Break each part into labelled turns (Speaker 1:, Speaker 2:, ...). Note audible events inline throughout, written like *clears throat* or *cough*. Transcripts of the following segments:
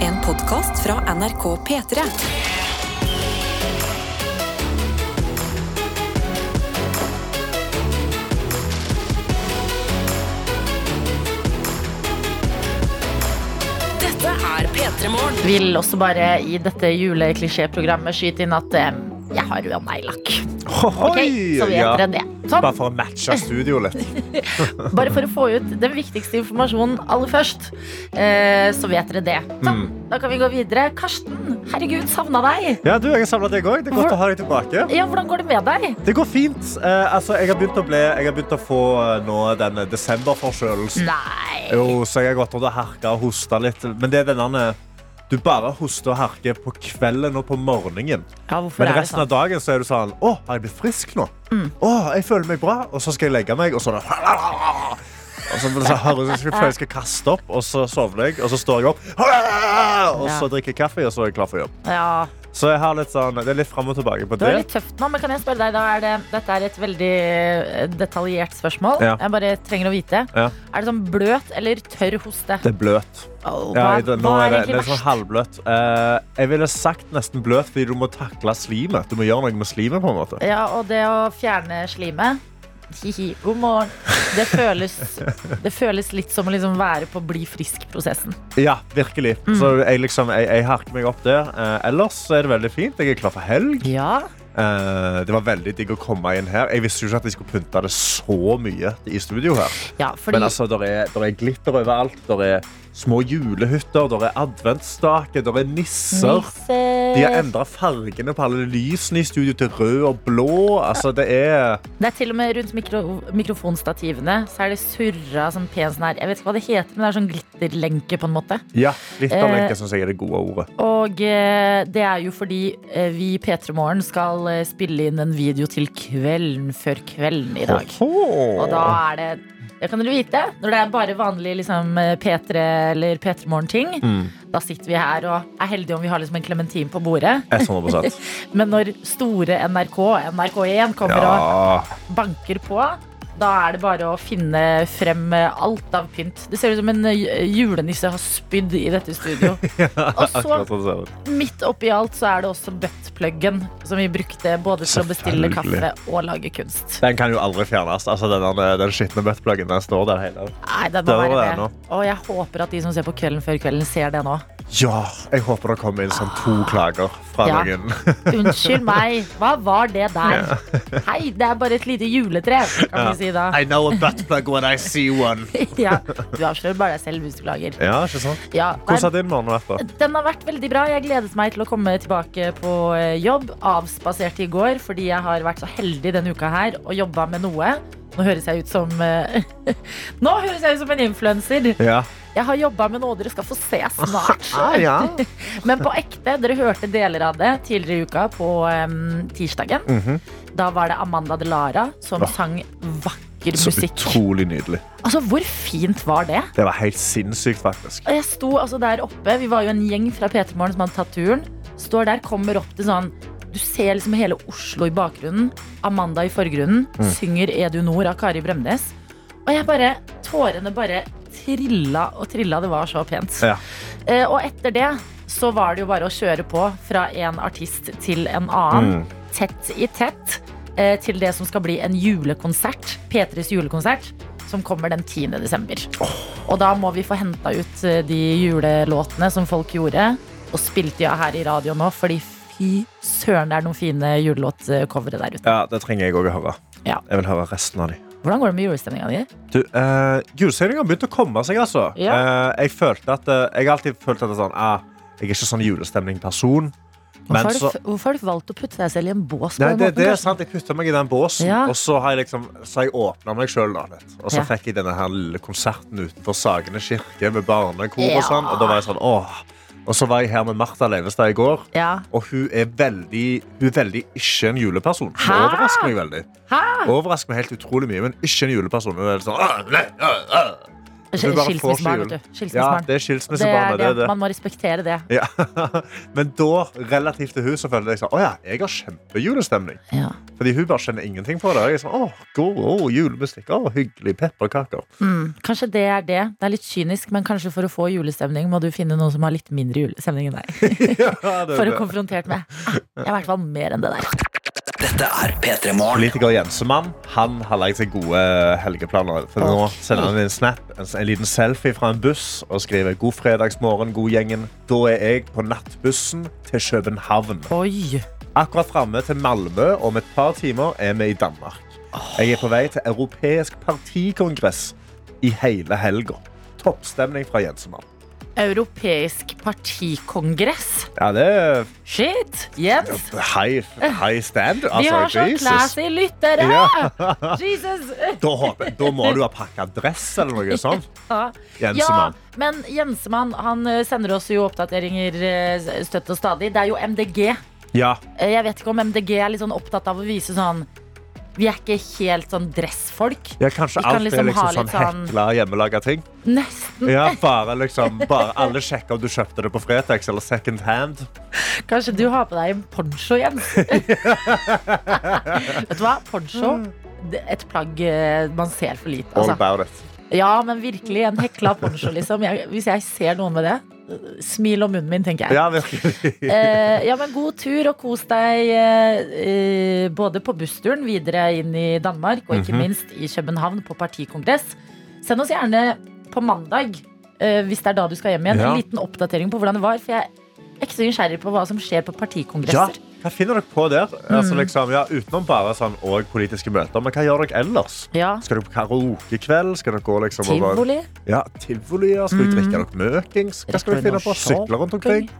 Speaker 1: En podkast fra NRK P3. Dette er P3 Morgen.
Speaker 2: Vil også bare i dette juleklisjéprogrammet skyte inn at eh, jeg har rød neglelakk. Ok, så vet dere det. Sånn,
Speaker 3: Bare for å matche studio litt.
Speaker 2: bare for å få ut den viktigste informasjonen aller først, eh, så vet dere det. Sånn,
Speaker 3: Mm.
Speaker 2: da kan vi gå videre. Karsten, herregud, savna deg.
Speaker 3: *laughs* Ja, du, jeg har samla deg òg. Det er godt
Speaker 2: Hvor-
Speaker 3: å ha deg tilbake.
Speaker 2: Ja, hvordan går det med deg?
Speaker 3: Det går fint. Eh, altså, jeg har begynt å, bli, jeg har begynt å få eh, nå den desemberforkjølelsen.
Speaker 2: Nei.
Speaker 3: Jo, så jeg har gått rundt og herka og hosta litt. Men det er denne Du bare hoster og herker på kvelden og på morgenen.
Speaker 2: Ja, hvorfor
Speaker 3: Men
Speaker 2: er Mm. det
Speaker 3: resten av
Speaker 2: sånn?
Speaker 3: dagen så er du sånn Å, har jeg blitt frisk nå? Å, jeg føler meg bra. Og så skal jeg legge meg, og så er det og så, så høres jeg føler jeg skal kaste opp, og så sovner jeg, og så står jeg opp. Og så drikker jeg kaffe, og så er jeg klar for jobb.
Speaker 2: sånn? Ja,
Speaker 3: Så jeg har litt sånn, det er litt fram og tilbake på
Speaker 2: det var
Speaker 3: det.
Speaker 2: litt tøft nå, men kan jeg spørre deg, da er det, dette er et veldig eh, detaljert spørsmål.
Speaker 3: Ja.
Speaker 2: Jeg bare trenger å vite.
Speaker 3: Ja.
Speaker 2: Er det sånn bløt eller tørr hoste?
Speaker 3: Det er bløt.
Speaker 2: Åh,
Speaker 3: Ja,
Speaker 2: hva,
Speaker 3: jeg- nå
Speaker 2: hva
Speaker 3: er
Speaker 2: er
Speaker 3: det, det
Speaker 2: egentlig
Speaker 3: er sånn
Speaker 2: verst?
Speaker 3: halvbløt. Eh, jeg ville sagt nesten bløt, fordi du må takle slimet. Du må gjøre noe med slimet. på en måte.
Speaker 2: Ja, og det å fjerne slimet Hihi, god morgen. Det
Speaker 3: *laughs*
Speaker 2: føles, det føles litt som å liksom være på bli frisk-prosessen.
Speaker 3: Ja, virkelig.
Speaker 2: Mm.
Speaker 3: Så jeg, liksom, jeg, jeg harker meg opp der. Eh, ellers så er det veldig fint. Jeg er klar for helg.
Speaker 2: Ja.
Speaker 3: Eh, det var veldig digg å komme inn her. Jeg visste jo ikke at jeg skulle pynte det så mye i studio her.
Speaker 2: fordi,
Speaker 3: Men altså, der er, der er glitter overalt. Der er små julehytter, der er adventsstaker, der er nisser.
Speaker 2: Nisser.
Speaker 3: De har endra fargene på alle lysene i studio til rød og blå. Altså, det er
Speaker 2: Det er til og med rundt mikro, mikrofonstativene så er det surra sånn pen sånn her Jeg vet ikke hva det heter, men det er sånn glitterlenke på en måte.
Speaker 3: Ja, glitterlenke
Speaker 2: Eh,
Speaker 3: syns jeg er det gode ordet.
Speaker 2: Og eh, det er jo fordi eh, vi i P3 Morgen skal eh, spille inn en video til kvelden før kvelden i dag. Og da er det Det kan dere vite. Når det er bare vanlige liksom, P3 eller P3 Morgen-ting,
Speaker 3: Mm.
Speaker 2: da sitter vi her og er heldige om vi har liksom en klementin på bordet.
Speaker 3: 100
Speaker 2: *laughs* Men når store NRK, NRK1, kommer
Speaker 3: Ja.
Speaker 2: og banker på, da er det bare å finne frem eh, alt av pynt. Det ser ut som en eh, julenisse har spydd i dette
Speaker 3: *laughs*
Speaker 2: studio. Og så
Speaker 3: Akkurat sånn ser det ut.
Speaker 2: midt oppi alt så er det også buttpluggen, som vi brukte både til å bestille
Speaker 3: Selvfølgelig.
Speaker 2: kaffe og lage kunst.
Speaker 3: Den kan jo aldri fjernes. Altså, den, der- den skitne buttpluggen den står der hele tiden.
Speaker 2: Nei, den
Speaker 3: Det
Speaker 2: må
Speaker 3: var
Speaker 2: være
Speaker 3: det nå.
Speaker 2: med. Og jeg håper at de som ser på Kvelden før kvelden, ser det nå.
Speaker 3: Ja, jeg håper det kommer inn sånn to klager fra
Speaker 2: Ja. *laughs*
Speaker 3: noen.
Speaker 2: Unnskyld meg, hva var det der? Hei, det er bare et lite juletre, kan vi si da. *laughs*
Speaker 3: I know a buttplug when I see one.
Speaker 2: Ja, du avslører bare deg selv hvis du klager.
Speaker 3: Ja, ikke sant?
Speaker 2: Ja, nei,
Speaker 3: Hvordan har din morgen vært? da?
Speaker 2: den har vært veldig bra. Jeg gledet meg til å komme tilbake på eh, jobb. Avspaserte i går fordi jeg har vært så heldig denne uka her og jobba med noe. Nå høres jeg ut som eh, *laughs* Nå høres jeg ut som en influenser.
Speaker 3: Ja.
Speaker 2: Jeg har jobba med noe dere skal få se snart.
Speaker 3: Ah, ja.
Speaker 2: Men på ekte, dere hørte deler av det tidligere i uka på em, tirsdagen. Da var det Amanda Delara som
Speaker 3: Mhm. Åh.
Speaker 2: sang vakker
Speaker 3: Så
Speaker 2: musikk.
Speaker 3: utrolig nydelig.
Speaker 2: Altså, hvor fint var det?
Speaker 3: Det var helt sinnssykt, faktisk.
Speaker 2: Og jeg sto altså der oppe, vi var jo en gjeng fra P3 Morgen som hadde tatt turen. Står der, kommer opp til sånn Du ser liksom hele Oslo i bakgrunnen. Amanda i forgrunnen.
Speaker 3: Mm.
Speaker 2: Synger Edu Nord av Kari Bremnes. Og jeg bare Tårene bare trilla og trilla. Det var så pent.
Speaker 3: Ja.
Speaker 2: Eh, og etter det så var det jo bare å kjøre på fra en artist til en annen.
Speaker 3: Mm.
Speaker 2: Tett i tett eh, til det som skal bli en julekonsert. P3s julekonsert. Som kommer den 10. desember. Og da må vi få henta ut eh, de julelåtene som folk gjorde, og spilte ja her i radio nå, fordi fy søren, det er noen fine julelåtcovere der ute.
Speaker 3: Ja, Det trenger jeg òg å høre.
Speaker 2: Ja.
Speaker 3: Jeg vil høre resten av de.
Speaker 2: Hvordan går det med julestemninga di?
Speaker 3: Du, eh, Julestemninga har begynt å komme seg, altså. Eh, jeg følte at eh, Jeg har alltid følt at det er sånn ah, Jeg er ikke sånn julestemning-person. Men
Speaker 2: Hvorfor, har du
Speaker 3: så
Speaker 2: f- hvorfor har du valgt å putte deg selv i en bås? på
Speaker 3: Nei,
Speaker 2: den
Speaker 3: det,
Speaker 2: måten,
Speaker 3: det er
Speaker 2: Karsten?
Speaker 3: sant. Jeg putta meg i den båsen,
Speaker 2: Ja.
Speaker 3: og så har jeg liksom Så har jeg åpna meg sjøl litt. Og så
Speaker 2: Ja.
Speaker 3: fikk jeg denne her lille konserten utenfor Sagene kirke med barnekor
Speaker 2: Ja.
Speaker 3: og sånn, og da var jeg sånn åh. Og så var jeg her med Martha Leivestad i går,
Speaker 2: Ja.
Speaker 3: og hun er veldig Hun er veldig ikke en juleperson. Hun
Speaker 2: Hæ?
Speaker 3: overrasker meg veldig.
Speaker 2: Hæ?
Speaker 3: Overrasker meg helt utrolig mye, men ikke en juleperson. Hun er helt sånn åh, nei, åh, åh. Du bare får
Speaker 2: Skilsmissebarn, vet du.
Speaker 3: skyld. Ja,
Speaker 2: Skilsmissebarn.
Speaker 3: det er skilsmissebarnet. Det er det.
Speaker 2: Man må respektere det.
Speaker 3: Ja. *laughs* Men da, relativt til hun, så følte jeg sånn, å ja, jeg har kjempejulestemning.
Speaker 2: Ja.
Speaker 3: Fordi hun bare skjønner ingenting på det. Jeg er sånn, åh, god, åh, julemusikk, åh, hyggelig, pepperkaker.
Speaker 2: Mm. Kanskje det er det. Det er litt kynisk, men kanskje for å få julestemning må du finne noen som har litt mindre julestemning enn deg.
Speaker 3: *laughs* *laughs* Ja, det er
Speaker 2: For å
Speaker 3: det.
Speaker 2: konfrontert med. Ah, jeg er i hvert fall mer enn det der.
Speaker 4: Dette er P3 Morgen.
Speaker 3: Politiker Jensemann han har lagd seg gode helgeplaner. For Nå
Speaker 2: Ok.
Speaker 3: sender han en snap, en, en liten selfie fra en buss og skriver god fredagsmorgen, god gjengen. Da er jeg på nattbussen til København.
Speaker 2: Oi.
Speaker 3: Akkurat framme til Malmö om et par timer er vi i Danmark. Jeg er på vei til europeisk partikongress i hele helga. Toppstemning fra Jensemann.
Speaker 2: Europeisk partikongress.
Speaker 3: Ja, det er
Speaker 2: Shit! Jens.
Speaker 3: high, high stand.
Speaker 2: Vi
Speaker 3: Altså,
Speaker 2: har så
Speaker 3: Jesus.
Speaker 2: classy lyttere!
Speaker 3: Ja.
Speaker 2: Jesus!
Speaker 3: Da, håper, jeg- da må du ha pakka dress eller noe sånt.
Speaker 2: Ja. Ja,
Speaker 3: Jensemann.
Speaker 2: men Jensemann han eh, sender oss jo oppdateringer eh, støtt og stadig. Det er jo MDG.
Speaker 3: Ja.
Speaker 2: Eh, Jeg vet ikke om MDG er litt sånn opptatt av å vise sånn Vi er ikke helt sånn dressfolk.
Speaker 3: Ja, kanskje
Speaker 2: Vi kan
Speaker 3: alt
Speaker 2: liksom
Speaker 3: er liksom
Speaker 2: ha
Speaker 3: sånn
Speaker 2: litt sånn-
Speaker 3: hekla hjemmelaga ting.
Speaker 2: Nesten.
Speaker 3: Ja, bare liksom, bare Alle sjekker om du kjøpte det på Fretex eller second hand.
Speaker 2: *laughs* Kanskje du har på deg en poncho, Jens. vet du hva? Poncho. det- Et plagg eh, man ser for lite.
Speaker 3: All
Speaker 2: Altså.
Speaker 3: about it.
Speaker 2: Ja, men virkelig. En hekla poncho, liksom. Jeg, hvis jeg ser noen med det, eh, smil om munnen min, tenker jeg.
Speaker 3: Ja, virkelig.
Speaker 2: Eh, ja, men god tur og kos deg eh, eh, både på bussturen videre inn i Danmark og
Speaker 3: Mhm.
Speaker 2: ikke minst i København på partikongress. Send oss gjerne på mandag, eh, hvis det er da du skal hjem igjen,
Speaker 3: Ja.
Speaker 2: en liten oppdatering på hvordan det var. For jeg er ikke så nysgjerrig på hva som skjer på
Speaker 3: Ja,
Speaker 2: partikongresser.
Speaker 3: hva finner dere på der?
Speaker 2: Mm.
Speaker 3: Altså, liksom, ja, utenom bare sånn, og politiske møter. Men hva gjør dere ellers?
Speaker 2: Ja.
Speaker 3: Skal dere på karaokekveld? Skal dere gå liksom over
Speaker 2: Tivoli. Mm.
Speaker 3: ja, tivoli? Ja. Skal dere drikke dere møkings? Hva skal dere finne på? Sykle rundt omkring?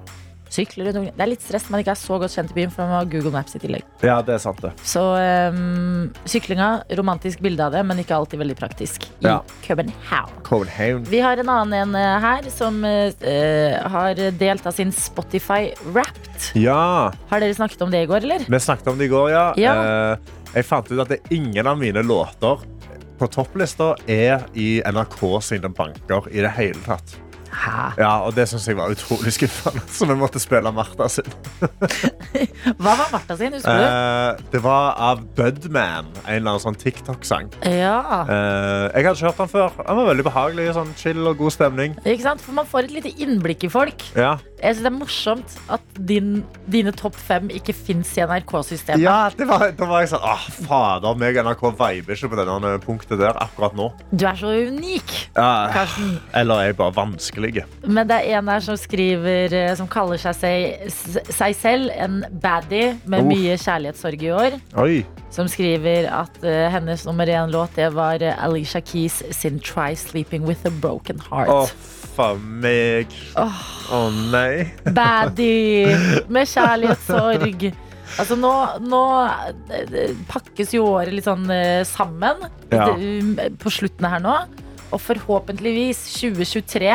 Speaker 2: Sykler rundt omkring. Det er litt stress, men ikke er så godt kjent i byen, for man har Google Maps i tillegg.
Speaker 3: Ja, det er sant, det.
Speaker 2: Så um, syklinga, romantisk bilde av det, men ikke alltid veldig praktisk i
Speaker 3: Ja.
Speaker 2: København.
Speaker 3: Copenhagen.
Speaker 2: Vi har en annen en eh, her som eh, har delt av sin Spotify Wrapped.
Speaker 3: Ja.
Speaker 2: Har dere snakket om det i går, eller?
Speaker 3: Vi snakket om det i går, ja.
Speaker 2: Ja.
Speaker 3: Eh, Jeg fant ut at det er ingen av mine låter på topplista er i NRK sine banker i det hele tatt. Ja, og det syns jeg var utrolig skuffende, så vi måtte spille Martha sin.
Speaker 2: Hva var Martha sin, husker du?
Speaker 3: Eh, det var av Budman, en eller annen sånn TikTok-sang.
Speaker 2: Ja,
Speaker 3: Eh, jeg hadde ikke hørt den før. Den var veldig behagelig. sånn Chill og god stemning.
Speaker 2: ikke sant? For man får et lite innblikk i folk.
Speaker 3: Ja,
Speaker 2: Jeg synes det er morsomt at din, dine topp fem ikke fins i NRK-systemet.
Speaker 3: ja det var, da var jeg sånn Åh, fader, meg og NRK viber ikke på denne punktet der akkurat nå.
Speaker 2: Du er så unik,
Speaker 3: Ja,
Speaker 2: Karsten.
Speaker 3: Ah, eller er jeg bare vanskelig?
Speaker 2: Men det er en her som skriver eh, Som kaller seg seg, seg selv En baddie med
Speaker 3: Uff.
Speaker 2: mye kjærlighetssorg i år
Speaker 3: Oi.
Speaker 2: Som skriver at eh, hennes nummer en låt Det var eh, Alicia Keys sin Try Sleeping With A Broken Heart
Speaker 3: Å, faen meg. Å nei.
Speaker 2: Baddie
Speaker 3: *laughs*
Speaker 2: med kjærlighetssorg Altså nå, nå eh, pakkes jo året litt sånn eh, sammen
Speaker 3: Ja.
Speaker 2: eh, På slutten her nå Og forhåpentligvis 2023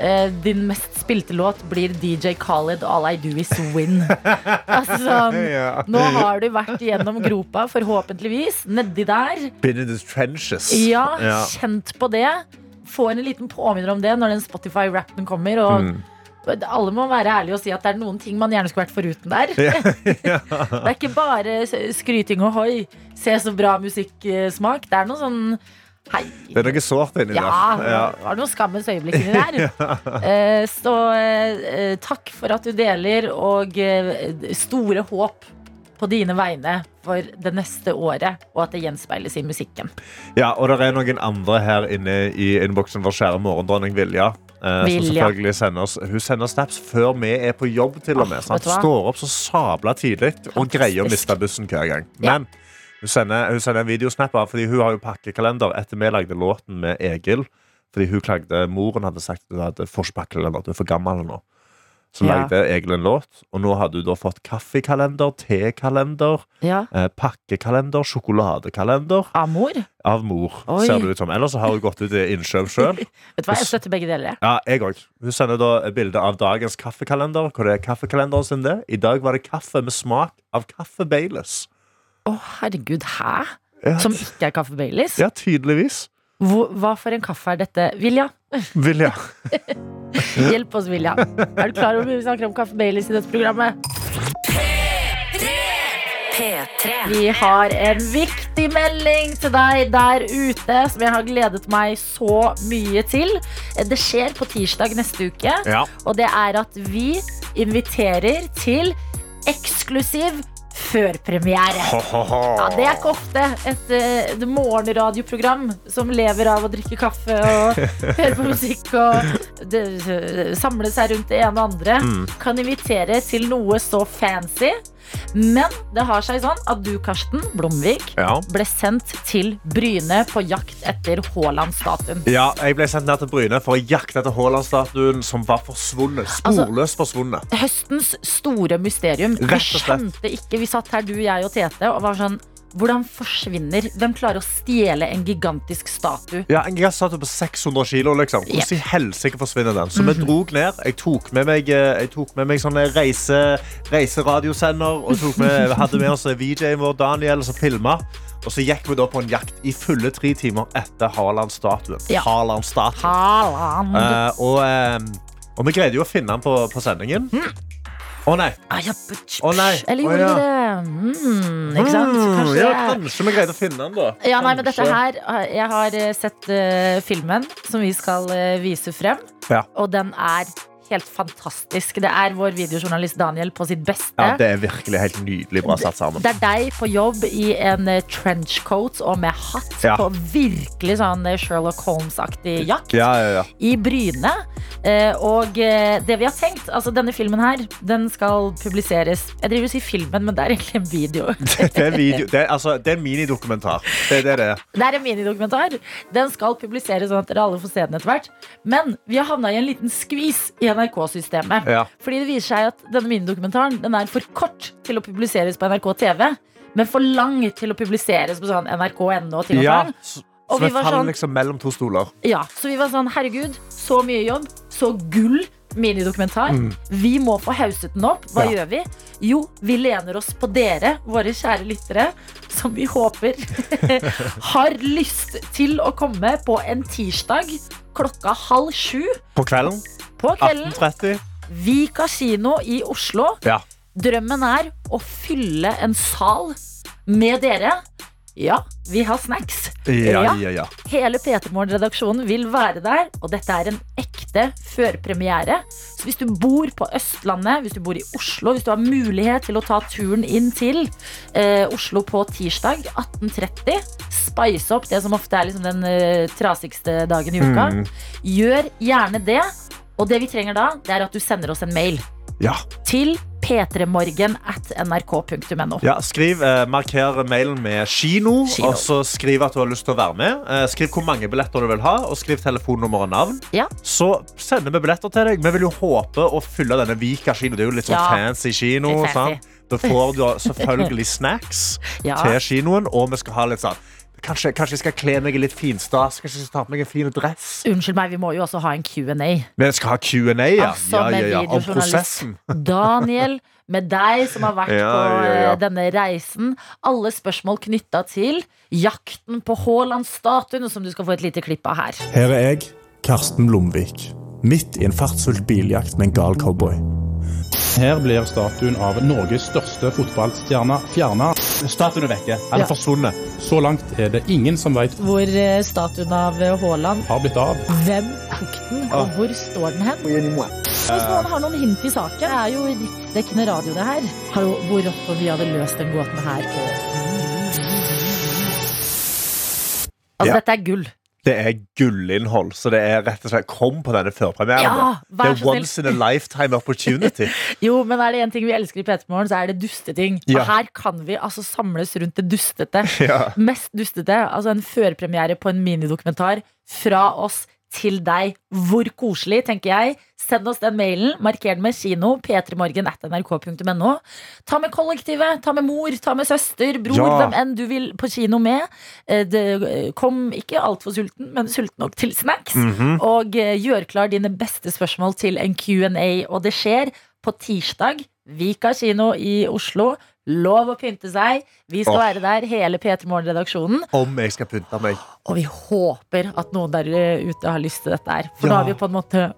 Speaker 2: eh, Din mest spilte låt blir DJ Khaled All I do is
Speaker 3: *laughs*
Speaker 2: win Altså sånn
Speaker 3: Ja.
Speaker 2: Nå har du vært gjennom gropa Forhåpentligvis Nedi der
Speaker 3: Been in the trenches.
Speaker 2: Ja, kjent på det Få en liten påminner om det Når den Spotify-rappen kommer Og
Speaker 3: Mm.
Speaker 2: alle må være ærlige og si at det er noen ting man gjerne skulle vært foruten der. *laughs* det er ikke bare s- skryting og hoi, se så bra musikksmak. Det er noe sånn hei.
Speaker 3: Det er noe sårt inni
Speaker 2: ja,
Speaker 3: der.
Speaker 2: det var noen skammens øyeblikk inni
Speaker 3: *laughs*
Speaker 2: der. Eh, Så eh, takk for at du deler, og eh, store håp på dine vegne for det neste året, og at det gjenspeiles i musikken.
Speaker 3: Ja, og det er noen andre her inne i innboksen vår kjære morgendronning Vilja. eh, Som
Speaker 2: Vilja.
Speaker 3: selvfølgelig sender oss Hun sender snaps før vi er på jobb. til og med
Speaker 2: Åh, Ah, vet
Speaker 3: sant?
Speaker 2: du hva?
Speaker 3: Står opp så sabla tidlig og greier å
Speaker 2: Fantastisk.
Speaker 3: miste bussen hver gang.
Speaker 2: Ja.
Speaker 3: Men hun sender, hun sender en videosnap av Fordi hun har jo pakkekalender etter vi lagde låten med Egil. Fordi hun klagde, Moren hadde sagt at hun hadde får ikke pakkekalender, du er for gammel nå. Så
Speaker 2: Ja.
Speaker 3: lagde Egil en låt, og nå hadde hun da fått kaffekalender, tekalender,
Speaker 2: Ja.
Speaker 3: eh, pakkekalender, sjokoladekalender
Speaker 2: Amor. Vet
Speaker 3: av mor,
Speaker 2: Oi.
Speaker 3: ser det ut som. Ellers så har hun gått ut i
Speaker 2: *laughs*
Speaker 3: innkjøp sjøl.
Speaker 2: du hva, jeg støtter begge deler. jeg.
Speaker 3: Ja, jeg òg. Hun sender da et bilde av dagens kaffekalender. Hvor det er kaffekalenderen sin det. I dag var det kaffe med smak av kaffe Baileys.
Speaker 2: Å, herregud, hæ?
Speaker 3: Ja,
Speaker 2: Som ikke er Kaffe Baileys?
Speaker 3: ja, tydeligvis.
Speaker 2: Hvor, hva for en kaffe er dette? Vilja, *laughs*
Speaker 3: Vilja.
Speaker 2: hjelp oss, *laughs* Vilja. Er du klar over hvor mye vi snakker om kaffe Baileys i dette programmet?
Speaker 1: P3.
Speaker 2: Vi har en viktig melding til deg der ute som jeg har gledet meg så mye til. Det skjer på tirsdag neste uke,
Speaker 3: Ja.
Speaker 2: og det er at vi inviterer til eksklusiv førpremiere. Ja, det er ikke ofte et eh, et morgenradioprogram som lever av å drikke kaffe og
Speaker 3: *laughs*
Speaker 2: høre på musikk og det- samle seg rundt det ene og andre,
Speaker 3: Mm.
Speaker 2: kan invitere til noe så fancy. Men det har seg sånn at du, Karsten Blomvik,
Speaker 3: Ja.
Speaker 2: ble sendt til Bryne på jakt etter Haaland-statuen.
Speaker 3: Ja, jeg ble sendt ned til Bryne for å jakte etter Haaland-statuen som var forsvunnet.
Speaker 2: Altså-
Speaker 3: Sporløst forsvunnet.
Speaker 2: Høstens store mysterium.
Speaker 3: Rett
Speaker 2: Vi
Speaker 3: og slett.
Speaker 2: skjønte ikke. Vi satt her, du, jeg og Tete, og var sånn hvordan forsvinner Hvem klarer å stjele en gigantisk statue?
Speaker 3: Ja, En gigastatue på 600 kilo. liksom. Hvordan i helsike forsvinner den? Så vi
Speaker 2: Mhm.
Speaker 3: drog ned. Jeg tok med meg, eh, jeg tok med meg sånne reise, reiseradiosender. Og tok med, hadde med oss VJ-en vår, Daniel, som filma. Og så gikk vi da på en jakt i fulle tre timer etter Haaland-statuen.
Speaker 2: Ja.
Speaker 3: Haaland-statuen.
Speaker 2: Haaland!
Speaker 3: Eh, og, eh, og vi greide jo å finne den på, på sendingen. Å
Speaker 2: Mhm.
Speaker 3: nei!
Speaker 2: Ah, ja, putsch,
Speaker 3: Eh, Å, nei.
Speaker 2: putsch. Eller
Speaker 3: Å,
Speaker 2: gjorde
Speaker 3: ja.
Speaker 2: vi det? Mm, ikke sant?
Speaker 3: Mm,
Speaker 2: Kanskje
Speaker 3: ja,
Speaker 2: det er-
Speaker 3: kanskje vi greide å finne den, da.
Speaker 2: Ja, nei, men dette
Speaker 3: Kanskje.
Speaker 2: her Jeg har eh, sett eh, filmen som vi skal eh, vise frem,
Speaker 3: Ja.
Speaker 2: og den er helt fantastisk. Det er vår videojournalist Daniel på sitt beste.
Speaker 3: Ja, det er virkelig helt nydelig bra satt sammen.
Speaker 2: Det er deg på jobb i en eh, trenchcoat og med hatt
Speaker 3: Ja.
Speaker 2: på virkelig sånn eh, Sherlock Holmes-aktig jakt
Speaker 3: Ja, ja, ja.
Speaker 2: i Bryne. Eh, Og eh, det vi har tenkt, altså denne filmen her, den skal publiseres Jeg driver og sier filmen, men det er egentlig en video. *laughs*
Speaker 3: Det er, video, det er, altså, det er en minidokumentar. Det er det det er.
Speaker 2: Det er en minidokumentar. Den skal publiseres sånn at dere alle får se den etter hvert. Men vi har havna i en liten skvis i NRK-systemet.
Speaker 3: Ja.
Speaker 2: Fordi det viser seg at denne minidokumentaren den er for kort til å publiseres på NRK TV. Men for lang til å publiseres på sånn NRK.no. og ting og sånn.
Speaker 3: Så
Speaker 2: Og
Speaker 3: så
Speaker 2: vi
Speaker 3: vi
Speaker 2: var
Speaker 3: faller
Speaker 2: sånn-
Speaker 3: liksom mellom to stoler.
Speaker 2: Ja, så vi var sånn, herregud, så mye jobb, så gull minidokumentar. Vi må få hauset den opp. Hva
Speaker 3: Ja.
Speaker 2: gjør vi? Jo, vi lener oss på dere, våre kjære lyttere, som vi håper *laughs* har lyst til å komme på en tirsdag klokka halv sju
Speaker 3: På kvelden?
Speaker 2: på kvelden.
Speaker 3: 18.30?
Speaker 2: Vika kino i Oslo.
Speaker 3: Ja.
Speaker 2: Drømmen er å fylle en sal med dere. Ja, vi har snacks.
Speaker 3: Ja, ja, ja.
Speaker 2: Hele P3morgen-redaksjonen vil være der, og dette er en ekte førpremiere. Så hvis du bor på Østlandet, hvis du bor i Oslo, hvis du har mulighet til å ta turen inn til eh, Oslo på tirsdag 18.30, spice opp det som ofte er liksom den eh, trasigste dagen i uka,
Speaker 3: Mm.
Speaker 2: gjør gjerne det. Og det vi trenger da, det er at du sender oss en mail
Speaker 3: ja.
Speaker 2: til p3morgen at nrk.no.
Speaker 3: ja skriv, eh, marker mailen med kino,
Speaker 2: Kino.
Speaker 3: og så skriv at du har lyst til å være med. Eh, skriv hvor mange billetter du vil ha, og skriv telefonnummer og navn.
Speaker 2: Ja.
Speaker 3: Så sender vi billetter til deg. Vi vil jo håpe å fylle denne Vika kino. Det er jo litt sånn
Speaker 2: Ja.
Speaker 3: fancy kino.
Speaker 2: Litt fancy.
Speaker 3: Sant? Da får du selvfølgelig snacks.
Speaker 2: *laughs* Ja.
Speaker 3: til kinoen, og vi skal ha litt sånn Kanskje, kanskje jeg skal kle meg i litt finstas? Kanskje jeg skal ta på meg en fin dress?
Speaker 2: Unnskyld meg, vi må jo også ha en Q&A.
Speaker 3: Vi skal ha Q&A, ja.
Speaker 2: Altså,
Speaker 3: ja, ja,
Speaker 2: med
Speaker 3: ja. Om
Speaker 2: videojournalist.
Speaker 3: prosessen. *laughs*
Speaker 2: Daniel, med deg som har vært
Speaker 3: Ja,
Speaker 2: på
Speaker 3: ja, ja.
Speaker 2: eh, denne reisen. Alle spørsmål knytta til jakten på Haaland-statuen, som du skal få et lite klipp av her.
Speaker 5: Her er jeg, Karsten Blomvik, midt i en fartsfullt biljakt med en gal cowboy.
Speaker 6: Her blir statuen av Norges største fotballstjerne fjerna.
Speaker 3: Statuen er vekke. Den er
Speaker 2: Ja.
Speaker 3: forsvunnet.
Speaker 6: Så langt er det ingen som veit
Speaker 2: Hvor eh, statuen av Haaland
Speaker 6: har blitt av.
Speaker 2: Hvem tok den,
Speaker 3: Ah.
Speaker 2: og hvor står den hen? Hvis noen har noen hint i saken, det er jo riksdekkende radio, det her. Hallo, hvor oppe vi hadde løst den gåten her på Altså,
Speaker 3: Ja.
Speaker 2: dette er gull.
Speaker 3: Det er gullinnhold, så det er rett og slett Kom på denne førpremieren.
Speaker 2: Ja,
Speaker 3: det
Speaker 2: vær
Speaker 3: er
Speaker 2: så
Speaker 3: once in a lifetime
Speaker 2: *laughs*
Speaker 3: opportunity.
Speaker 2: Jo, men er det én ting vi elsker i P3morgen, så er det dusteting.
Speaker 3: Ja.
Speaker 2: Og her kan vi altså samles rundt det dustete.
Speaker 3: *laughs* Ja.
Speaker 2: Mest dustete. Altså en førpremiere på en minidokumentar fra oss til deg. Hvor koselig, tenker jeg. Send oss den mailen. Marker den med kino. p3morgen at nrk.no. Ta med kollektivet. Ta med mor, ta med søster, bror,
Speaker 3: Ja.
Speaker 2: hvem enn du vil på kino med. Eh, Det, eh, kom ikke altfor sulten, men sulten nok til snacks.
Speaker 3: Mhm.
Speaker 2: Og eh, gjør klar dine beste spørsmål til en Q&A. Og det skjer på tirsdag. Vika kino i Oslo. Lov å pynte seg. Vi skal
Speaker 3: Åh.
Speaker 2: være der, hele P3 Morgen-redaksjonen.
Speaker 3: Om jeg skal pynte meg.
Speaker 2: Og vi håper at noen der eh, ute har lyst til dette her. For
Speaker 3: Ja.
Speaker 2: nå har vi på en måte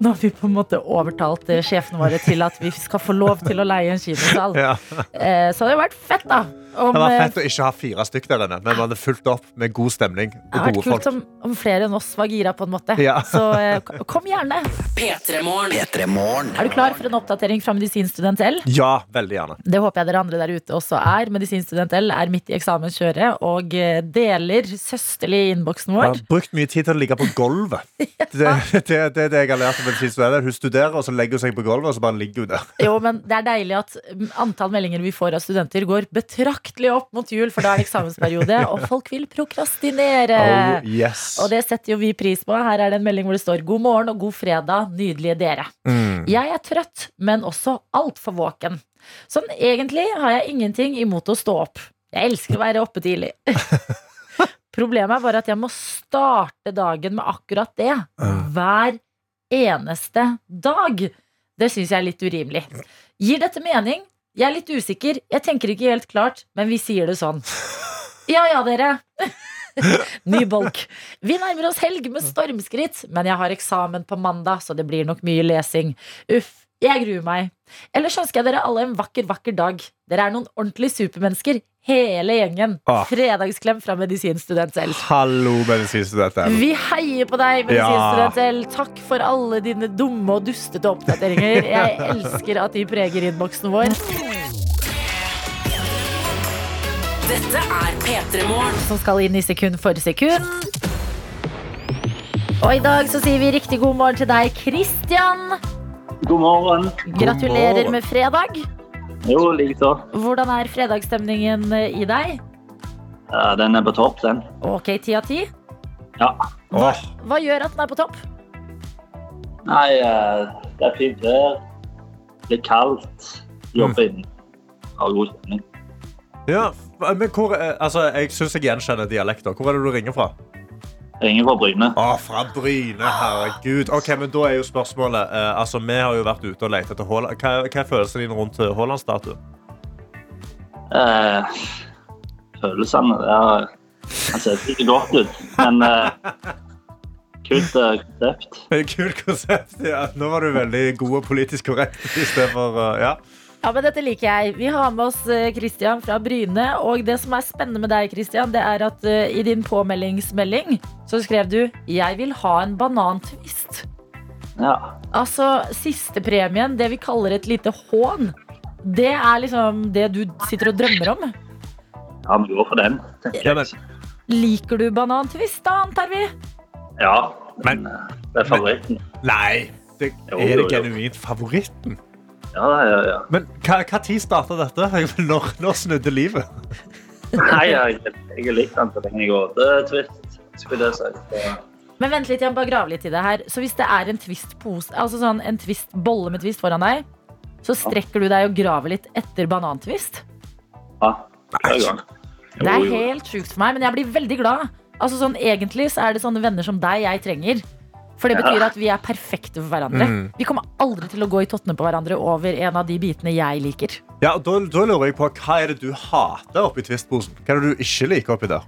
Speaker 2: nå har vi på en måte overtalt eh, sjefene våre til at vi skal få lov til å leie en kinosal.
Speaker 3: *laughs* Ja.
Speaker 2: Eh, Så det hadde vært fett, da. Om,
Speaker 3: Det var
Speaker 2: eh,
Speaker 3: fett å ikke ha fire stykk der inne, men vi hadde fulgt opp med god stemning
Speaker 2: det
Speaker 3: og
Speaker 2: hadde vært
Speaker 3: gode
Speaker 2: kult
Speaker 3: folk.
Speaker 2: om, om flere enn oss var gira, på en måte.
Speaker 3: Ja.
Speaker 2: Så eh, k- kom gjerne.
Speaker 1: P3morgen.
Speaker 4: P3morgen.
Speaker 2: Er du klar for en oppdatering fra medisinstudent L?
Speaker 3: Ja, veldig gjerne.
Speaker 2: Det håper jeg dere andre der ute også er. Medisinstudent L er midt i eksamenskjøret og eh, deler søsterlig i innboksen
Speaker 3: Jeg
Speaker 2: vår.
Speaker 3: har brukt mye tid til å ligge på
Speaker 2: *laughs*
Speaker 3: gulvet. Det er det, det, er det jeg har lært om medisinstudiet. Hun studerer, og så legger hun seg på gulvet, og så bare ligger hun der.
Speaker 2: Jo, men det er deilig at mm, antall meldinger vi får av studenter, går betraktelig opp mot jul, for da er det eksamensperiode, og folk vil prokrastinere.
Speaker 3: Oh, yes.
Speaker 2: Eh, Og det setter jo vi pris på. Her er det en melding hvor det står 'God morgen og god fredag, nydelige dere'.
Speaker 3: Mm.
Speaker 2: Jeg er trøtt, men også altfor våken. Sånn egentlig har jeg ingenting imot å stå opp. Jeg elsker å være oppe tidlig. Problemet er bare at jeg må starte dagen med akkurat det. Hver eneste dag. Det syns jeg er litt urimelig. Gir dette mening? Jeg er litt usikker. Jeg tenker ikke helt klart, men vi sier det sånn. Ja ja, dere. *laughs* Ny bolk. Vi nærmer oss helg med stormskritt, men jeg har eksamen på mandag, så det blir nok mye lesing. Uff, jeg gruer meg. Ellers ønsker jeg dere alle en vakker, vakker dag. Dere er noen ordentlige supermennesker, hele gjengen.
Speaker 3: Ah.
Speaker 2: Fredagsklem fra medisinstudent selv.
Speaker 3: Hallo, medisinstudent. Ellen.
Speaker 2: Vi heier på deg,
Speaker 3: Ja.
Speaker 2: medisinstudent L. Takk for alle dine dumme og dustete
Speaker 3: *laughs*
Speaker 2: oppdateringer. Jeg elsker at de preger innboksen vår.
Speaker 1: Dette er P3morgen.
Speaker 2: som skal inn i sekund for sekund. Og i dag så sier vi riktig god morgen til deg, Kristian.
Speaker 7: God morgen.
Speaker 2: Gratulerer
Speaker 3: morgen.
Speaker 2: med fredag.
Speaker 7: Jo, likeså.
Speaker 2: Hvordan er fredagsstemningen eh, i deg?
Speaker 7: Eh, Den er på topp, den.
Speaker 2: Ok, ti av ti.
Speaker 7: Ja.
Speaker 3: Åh,
Speaker 2: Hva gjør at den er på topp?
Speaker 7: Nei, eh, det er fint vær. Litt kaldt. Jobbe inn. Har god stemning.
Speaker 3: ja. Men hvor, eh, altså, jeg syns jeg gjenkjenner dialekter. Hvor er det du ringer fra?
Speaker 7: Ringer fra Bryne.
Speaker 3: Å, fra Bryne, herregud. Ok, men Da er jo spørsmålet eh, altså, Vi har jo vært ute og lett etter Haaland. Hva, hva er følelsen din rundt eh, Haaland-statuen?
Speaker 7: Eh, følelsene der Han ser ikke godt ut, men eh, kult eh, konsept.
Speaker 3: Kult konsept. ja. Nå var du veldig god og politisk korrekt. I stedet for, eh, ja.
Speaker 2: Ja, men Dette liker jeg. Vi har med oss eh, Kristian fra Bryne. Og det som er spennende med deg, Kristian, det er at eh, i din påmeldingsmelding så skrev du 'Jeg vil ha en banantvist'.
Speaker 7: Ja.
Speaker 2: Altså, siste premien, det vi kaller et lite hån, det er liksom det du sitter og drømmer om.
Speaker 7: ja, vi går for den. tenker
Speaker 3: Ja, men-
Speaker 7: jeg.
Speaker 2: Liker du banantvist, da, antar vi?
Speaker 7: Ja,
Speaker 3: Men-
Speaker 7: men eh, det er favoritten.
Speaker 3: Nei. Det,
Speaker 7: Jo,
Speaker 3: er det
Speaker 7: jo, jo.
Speaker 3: genuint favoritten?
Speaker 7: Ja, ja, ja.
Speaker 3: Men hva, hva tid starta dette? *laughs* Jeg vil- Når, når snudde livet?
Speaker 7: Nei, jeg, jeg er litt den så lenge jeg går. Det er trist, skulle jeg si. Så-
Speaker 2: Men vent litt, jeg må bare grave litt i det her. Så hvis det er en twist-pose, altså sånn en twist, bolle med twist foran deg, så strekker du deg og graver litt etter banantvist?
Speaker 7: Ja, hver gang.
Speaker 2: Det
Speaker 7: Jo,
Speaker 2: er
Speaker 7: jo.
Speaker 2: helt sjukt for meg, men jeg blir veldig glad. Altså sånn, Egentlig så er det sånne venner som deg jeg trenger. For det betyr at vi er perfekte for hverandre. Vi kommer aldri til å gå i tottene på hverandre over en av de bitene jeg liker.
Speaker 3: Ja, og da, da lurer jeg på, Hva er det du hater oppi Twist-posen? Hva er det du ikke liker oppi der?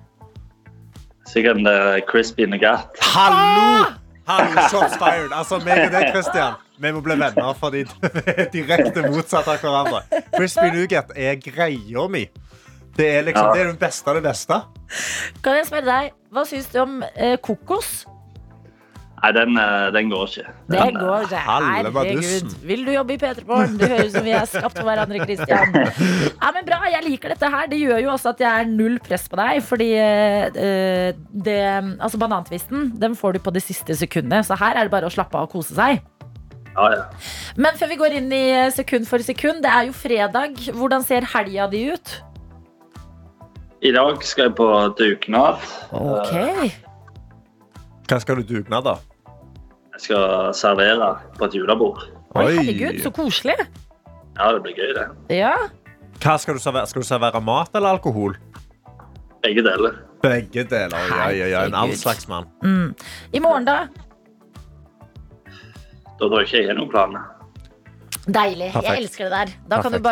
Speaker 7: Sikkert en eh, crispy nougat.
Speaker 3: Hallo! Ah! Hallo, shots fired. Altså, meg og deg, Christian, vi må bli venner fordi *laughs* vi er direkte motsatt av hverandre. Crispy nougat er greia mi. Det er liksom,
Speaker 7: Ja.
Speaker 3: det er den beste av det beste.
Speaker 2: Kan jeg spørre deg, Hva syns du om eh, kokos?
Speaker 7: Nei, den, eh, den går ikke.
Speaker 2: Det
Speaker 7: Den, eh,
Speaker 2: går det.
Speaker 3: Halve
Speaker 2: Herregud.
Speaker 3: badussen.
Speaker 2: Vil du jobbe i P3 Morgen? Det høres ut som vi er skapt for hverandre, Kristian. Ja, men bra, jeg liker dette her. Det gjør jo også at jeg er null press på deg. Fordi eh, det Altså, banantvisten, den får du på det siste sekundet. Så her er det bare å slappe av og kose seg.
Speaker 7: Ja, ja.
Speaker 2: Men før vi går inn i eh, sekund for sekund, det er jo fredag. Hvordan ser helga di ut?
Speaker 7: I dag skal jeg på dugnad.
Speaker 2: Ok.
Speaker 3: Hva skal du dugnad, da?
Speaker 7: Jeg skal servere på et julebord.
Speaker 2: Oi, herregud, så koselig.
Speaker 7: Ja, det blir gøy, det.
Speaker 2: Ja.
Speaker 3: Hva skal du servere? Skal du servere mat eller alkohol?
Speaker 7: Begge deler.
Speaker 3: Begge deler. Ja, ja, ja. En annen slags mann.
Speaker 2: I morgen, da?
Speaker 7: Da tror jeg ikke jeg har noen planer.
Speaker 2: Deilig.
Speaker 3: Perfekt.
Speaker 2: Jeg elsker det der. Da kan du
Speaker 3: Perfekt. Mhm.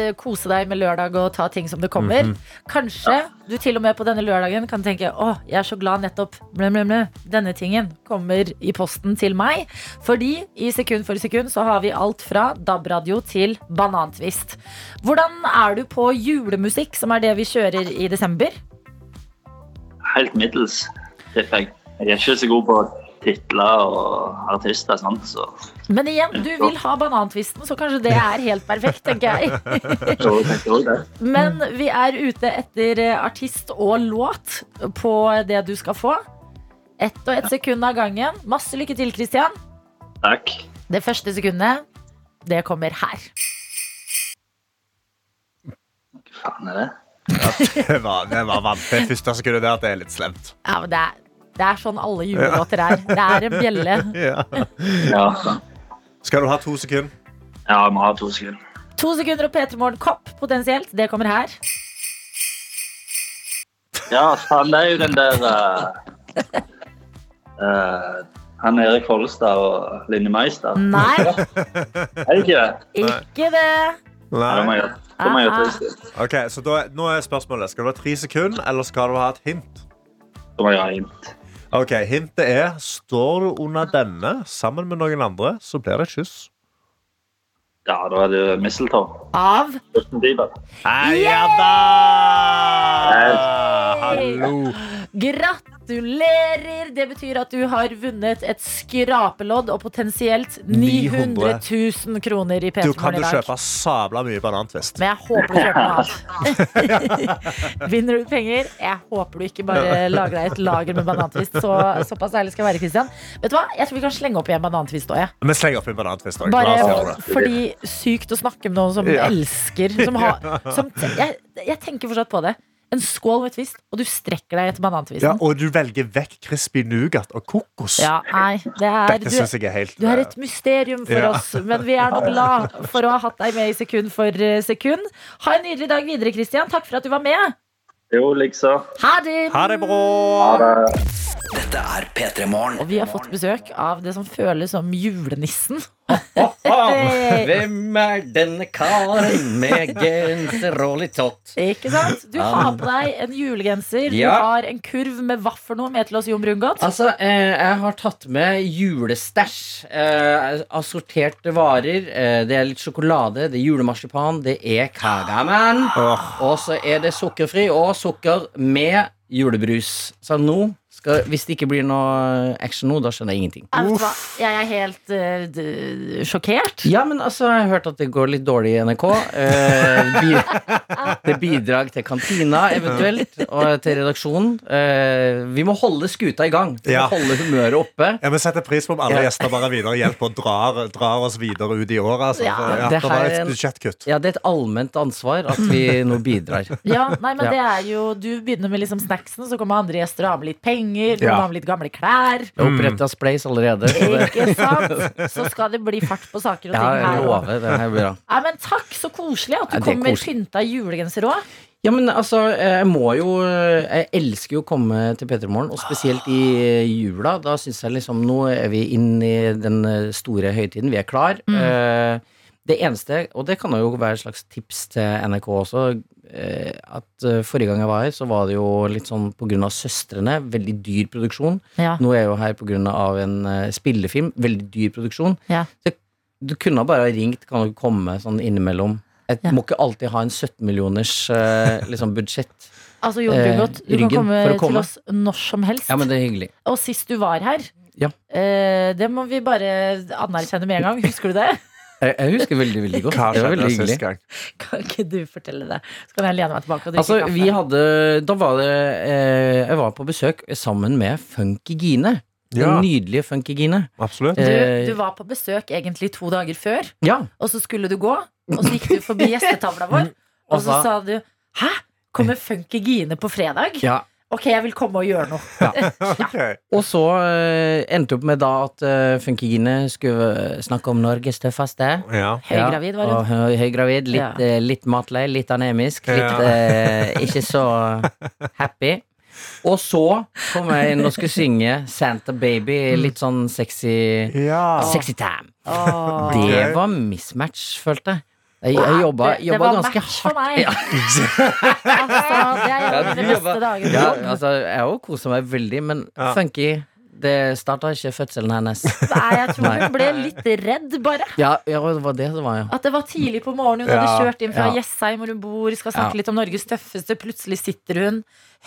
Speaker 2: bare eh, kose deg med lørdag og ta ting som det kommer. Kanskje du til og med på denne lørdagen kan tenke Å, jeg er så glad nettopp blø, blø, blø. denne tingen kommer i posten til meg. Fordi i sekund for sekund så har vi alt fra DAB-radio til banantvist. Hvordan er du på julemusikk, som er det vi kjører i desember?
Speaker 7: Helt middels, tipper jeg. Jeg er ikke så god på titler og artister, sant? så
Speaker 2: Men igjen, du vil ha banantvisten, så kanskje det er helt perfekt, tenker jeg.
Speaker 7: så jeg tenkte også det.
Speaker 2: Men vi er ute etter eh, artist og låt på det du skal få. Ett og ett sekund av gangen. Masse lykke til, Christian.
Speaker 7: Takk.
Speaker 2: Det første sekundet, det kommer her.
Speaker 7: Hva faen er det?
Speaker 3: Det var, det var vanskelig. Første sekundet der at det er litt slemt.
Speaker 2: Ja, men det, er, det er sånn alle julelåter er. Det er en bjelle.
Speaker 3: *laughs* Ja.
Speaker 7: Ja,
Speaker 3: Skal du ha to sekunder?
Speaker 7: ja vi har to sekunder.
Speaker 2: To sekunder og P3 Morgen-kopp potensielt. Det kommer her.
Speaker 7: Ja, faen, det er jo den der eh, eh, Han Erik Follestad og Linni Meister.
Speaker 2: Nei,
Speaker 7: Er det ikke det?
Speaker 2: ikke det.
Speaker 7: Ja, det må jeg gjøre. Det må jeg gjøre til sist.
Speaker 3: Ok, så da, nå er spørsmålet Skal du ha tre sekunder, eller skal du ha et hint?
Speaker 7: Det må jeg gjøre hint.
Speaker 3: Ok, Hintet er står du under
Speaker 2: Ah.
Speaker 3: denne sammen med noen andre, så blir det et kyss.
Speaker 7: Ja, da er det jo Mistletoe.
Speaker 2: Av
Speaker 7: Justin Bieber.
Speaker 3: Heia da! Hallo.
Speaker 2: Gratulerer! Det betyr at du har vunnet et skrapelodd og potensielt 900 000 kroner i
Speaker 3: Du
Speaker 2: P3 Morgen
Speaker 3: kan du
Speaker 2: i dag.
Speaker 3: kjøpe sabla mye banantvist.
Speaker 2: Men jeg håper du kjøper noe annet. *laughs* Vinner du penger? Jeg håper du ikke bare lager deg et lager med banantvist. Så, såpass ærlig skal jeg være, Kristian. Vet du hva? Jeg tror vi kan slenge opp igjen banantvist òg, jeg.
Speaker 3: Vi slenger opp en banantvist. også. La oss gjøre
Speaker 2: Bare
Speaker 3: det.
Speaker 2: fordi sykt å snakke med noen som
Speaker 3: Ja.
Speaker 2: elsker som
Speaker 3: *laughs*
Speaker 2: har, som, jeg, jeg tenker fortsatt på det. En skål med twist, og du strekker deg etter
Speaker 3: Ja,
Speaker 2: banantvisten.
Speaker 3: og du velger vekk crispy nougat og kokos.
Speaker 2: Ja, nei, det er,
Speaker 3: Dette
Speaker 2: du,
Speaker 3: syns jeg er helt eh,
Speaker 2: Du er et mysterium for
Speaker 3: Ja.
Speaker 2: oss, men vi er nå glad for å ha hatt deg med i sekund for eh, sekund. Ha en nydelig dag videre, Kristian. Takk for at du var med.
Speaker 7: Jo, liksom.
Speaker 2: Ha det!
Speaker 3: Ha det bra!
Speaker 4: Dette er P3 Morgen.
Speaker 2: Og vi har fått besøk av det som føles som julenissen.
Speaker 8: Hvem er denne karen med genser og litt tott?
Speaker 2: Ikke sant? Du har på deg en julegenser, du
Speaker 8: Ja.
Speaker 2: har en kurv med hva for noe med til oss, Jon Brungot.
Speaker 8: Altså, eh, jeg har tatt med julestæsj. Eh, assorterte varer. Eh, det er litt sjokolade, det er julemarsipan, det er kagaman. Og så er det sukkerfri og sukker med julebrus. Så nå skal, hvis det ikke blir noe action nå, da skjønner jeg ingenting.
Speaker 2: Jeg vet hva, Jeg er helt eh, d- sjokkert.
Speaker 8: Ja, men altså, jeg har hørt at det går litt dårlig i NRK. Eh, bi det er bidrag til kantina, eventuelt, og til redaksjonen. Eh, vi må holde skuta i gang. Vi
Speaker 3: Ja.
Speaker 8: må holde humøret oppe.
Speaker 3: Ja, men setter pris på om alle
Speaker 8: Ja.
Speaker 3: gjester bare videre hjelper og drar, drar oss videre ut i året. Altså.
Speaker 2: Ja,
Speaker 3: For, ja,
Speaker 8: det
Speaker 3: det var
Speaker 8: her er
Speaker 3: et
Speaker 8: en-
Speaker 3: budsjettkutt.
Speaker 8: Ja, det er et allment ansvar at vi nå bidrar.
Speaker 2: Ja, nei, men
Speaker 8: Ja.
Speaker 2: det er jo, Du begynner med liksom snacksen, så kommer andre gjester og har med litt penger. Noen
Speaker 3: Ja.
Speaker 2: har med litt gamle klær.
Speaker 8: Jeg har oppretta Splace allerede. Så det,
Speaker 2: Ikke sant? Så skal det bli fart på saker og
Speaker 8: ja,
Speaker 2: ting
Speaker 8: jeg
Speaker 2: her. også.
Speaker 8: lover. Det her blir bra.
Speaker 2: Nei, men takk, så koselig at du
Speaker 8: Ja, det er
Speaker 2: kom med
Speaker 8: koselig.
Speaker 2: pynta julegenser òg.
Speaker 8: Ja, men altså, jeg må jo Jeg elsker jo å komme til P3 Morgen, og spesielt i eh, jula. Da syns jeg liksom Nå er vi inn i den eh, store høytiden. Vi er klar.
Speaker 2: Mm.
Speaker 8: Eh, Det eneste, og det kan jo være et slags tips til NRK også, eh, at eh, forrige gang jeg var her, så var det jo litt sånn på grunn av Søstrene. Veldig dyr produksjon.
Speaker 2: Ja.
Speaker 8: Nå er jeg jo her på grunn av en eh, spillefilm. Veldig dyr produksjon.
Speaker 2: Ja.
Speaker 8: Så du kunne ha bare ha ringt, kan du komme sånn innimellom. Jeg
Speaker 2: Ja.
Speaker 8: må ikke alltid ha en 17 millioners eh, liksom budsjett.
Speaker 2: Altså, Jon
Speaker 8: Eh,
Speaker 2: Brungot, du kan
Speaker 8: ryggen
Speaker 2: komme,
Speaker 8: for å komme.
Speaker 2: til oss når som helst.
Speaker 8: Ja, men det er hyggelig.
Speaker 2: Og sist du var her,
Speaker 8: Ja.
Speaker 2: eh, det må vi bare anerkjenne med en gang. Husker du det?
Speaker 8: Jeg, jeg husker veldig, veldig godt. Det var veldig hyggelig.
Speaker 3: gang?
Speaker 2: *laughs* Kan ikke du fortelle det? Så kan jeg lene meg tilbake og drikke
Speaker 8: Altså,
Speaker 2: kaffe.
Speaker 8: vi hadde Da var det eh, Jeg var på besøk sammen med Funky Gine. Den
Speaker 3: Ja.
Speaker 8: nydelige Funky Gine.
Speaker 3: Absolutt.
Speaker 8: eh,
Speaker 2: du, du var på besøk egentlig to dager før,
Speaker 8: Ja.
Speaker 2: og så skulle du gå. Og så gikk du forbi gjestetavla
Speaker 8: *laughs*
Speaker 2: vår, og så sa
Speaker 8: sa-
Speaker 2: du Hæ? Kommer Funky Gine på fredag?
Speaker 8: ja.
Speaker 2: Ok, jeg vil komme og gjøre
Speaker 8: *laughs*
Speaker 2: noe.
Speaker 3: Ok.
Speaker 8: Og så eh, endte opp med da at eh, Funky Gine skulle eh, snakke om Norges tøffeste.
Speaker 3: Ja.
Speaker 2: Høygravid var hun.
Speaker 8: Ja, og hø- høygravid, litt,
Speaker 2: Ja.
Speaker 8: eh, litt matlei, litt anemisk, litt
Speaker 3: Ja.
Speaker 8: eh, ikke så happy. Og så kom jeg inn og skulle synge Santa Baby, litt sånn sexy
Speaker 2: Ah.
Speaker 5: Ja.
Speaker 8: Sexy time.
Speaker 2: Åh.
Speaker 8: Det
Speaker 3: Ok.
Speaker 8: var mismatch, følte jeg. Jeg, jeg jobba,
Speaker 2: Det- det
Speaker 8: jobba
Speaker 2: var
Speaker 8: ganske
Speaker 2: match for
Speaker 8: hardt.
Speaker 2: meg.
Speaker 8: Ja,
Speaker 2: Altså, det er jo
Speaker 8: Ja, du
Speaker 2: de beste
Speaker 8: jobba-
Speaker 2: dagene.
Speaker 8: ja, altså, jeg òg kosa meg veldig, men
Speaker 3: Ja.
Speaker 8: funky Det starta ikke fødselen
Speaker 2: *laughs*
Speaker 8: hennes.
Speaker 2: Nei, jeg tror
Speaker 8: Nei.
Speaker 2: hun ble litt redd, bare.
Speaker 8: Ja, ja det var det det var, ja.
Speaker 2: At det var tidlig på morgenen. Hun
Speaker 5: Ja,
Speaker 2: hadde kjørt inn fra
Speaker 8: ja.
Speaker 2: Jessheim, hvor hun bor, skal snakke
Speaker 8: Ja.
Speaker 2: litt om Norges tøffeste. Plutselig sitter hun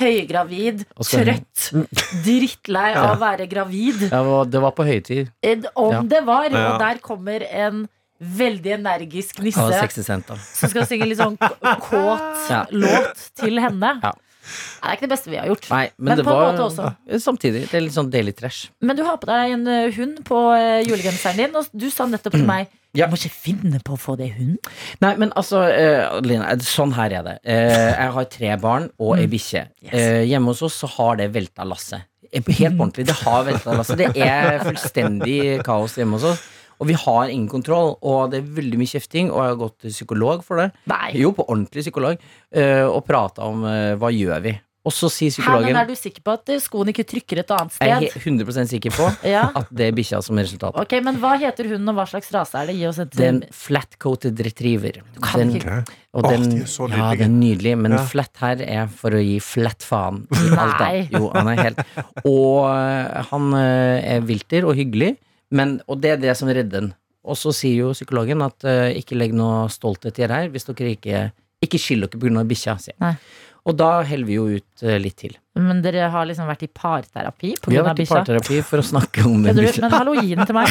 Speaker 2: høygravid,
Speaker 8: Og skal-
Speaker 2: trøtt,
Speaker 8: *laughs*
Speaker 2: drittlei av å være gravid.
Speaker 8: Det var, det var på høytid.
Speaker 2: Eh, Om
Speaker 8: Ja.
Speaker 2: det var.
Speaker 3: Ja.
Speaker 2: Og der kommer en veldig energisk
Speaker 8: Det var
Speaker 2: nisse
Speaker 8: 60 cent, da.
Speaker 2: som skal synge litt sånn k- kåt
Speaker 8: Ja.
Speaker 2: låt til henne.
Speaker 8: Ja.
Speaker 2: Det er ikke det beste vi har gjort.
Speaker 8: Nei,
Speaker 2: Men
Speaker 8: men, det
Speaker 2: på en
Speaker 8: var
Speaker 2: måte også.
Speaker 8: Ja, Samtidig. Det er litt sånn deilig trash.
Speaker 2: Men du har på deg en eh, hund på eh, julegenseren din, og du sa nettopp til meg
Speaker 8: Mm. Ja.
Speaker 2: Du må ikke finne på å få det hund.
Speaker 8: Nei, men altså, eh, Adeline, eh, sånn her er det. Eh, jeg har tre barn og
Speaker 2: Mm.
Speaker 8: ei bikkje. Eh, hjemme hos oss så har det velta lasset. Eh, Helt på ordentlig. Det har velta lasset. Det er fullstendig kaos hjemme hos oss. Og vi har ingen kontroll, og det er veldig mye kjefting, og jeg har gått til psykolog for det.
Speaker 2: Nei.
Speaker 8: Jo, på ordentlig psykolog, eh, og prata om eh, hva gjør vi? Og så sier
Speaker 2: Her, men
Speaker 8: psykologen
Speaker 2: er du sikker på at eh, skoen ikke trykker et annet
Speaker 8: Jeg er
Speaker 2: sted?
Speaker 8: he- 100 sikker på
Speaker 2: Ja.
Speaker 8: at det er bikkja som er resultatet.
Speaker 2: Ok, Men hva heter hunden, og hva slags rase er det? Gi oss et
Speaker 8: Det er en flat-coated retriever.
Speaker 2: kan
Speaker 8: den,
Speaker 2: ikke-
Speaker 8: og
Speaker 5: Åh,
Speaker 8: den,
Speaker 5: de er så
Speaker 8: ja,
Speaker 5: nydelige.
Speaker 8: den er nydelig, men
Speaker 5: Ja.
Speaker 8: flat her er for å gi flat faen. i alt annet.
Speaker 2: Nei.
Speaker 8: Jo, han er helt Og øh, han øh, er vilter og hyggelig, men, og det er det som redder den. Og så sier jo psykologen at øh, ikke legg noe stolthet i det her hvis dere ikke Ikke skyld dere pga. bikkja, sier
Speaker 2: Nei.
Speaker 8: han. Og da heller vi jo ut øh, litt til.
Speaker 2: Men dere har liksom vært i parterapi
Speaker 8: Vi har
Speaker 2: pga.
Speaker 8: vært i
Speaker 2: bikkja?
Speaker 8: parterapi for å snakke om
Speaker 2: Kødder du?
Speaker 8: bikkja.
Speaker 2: Men hallo, gi den til
Speaker 8: *laughs*
Speaker 2: meg.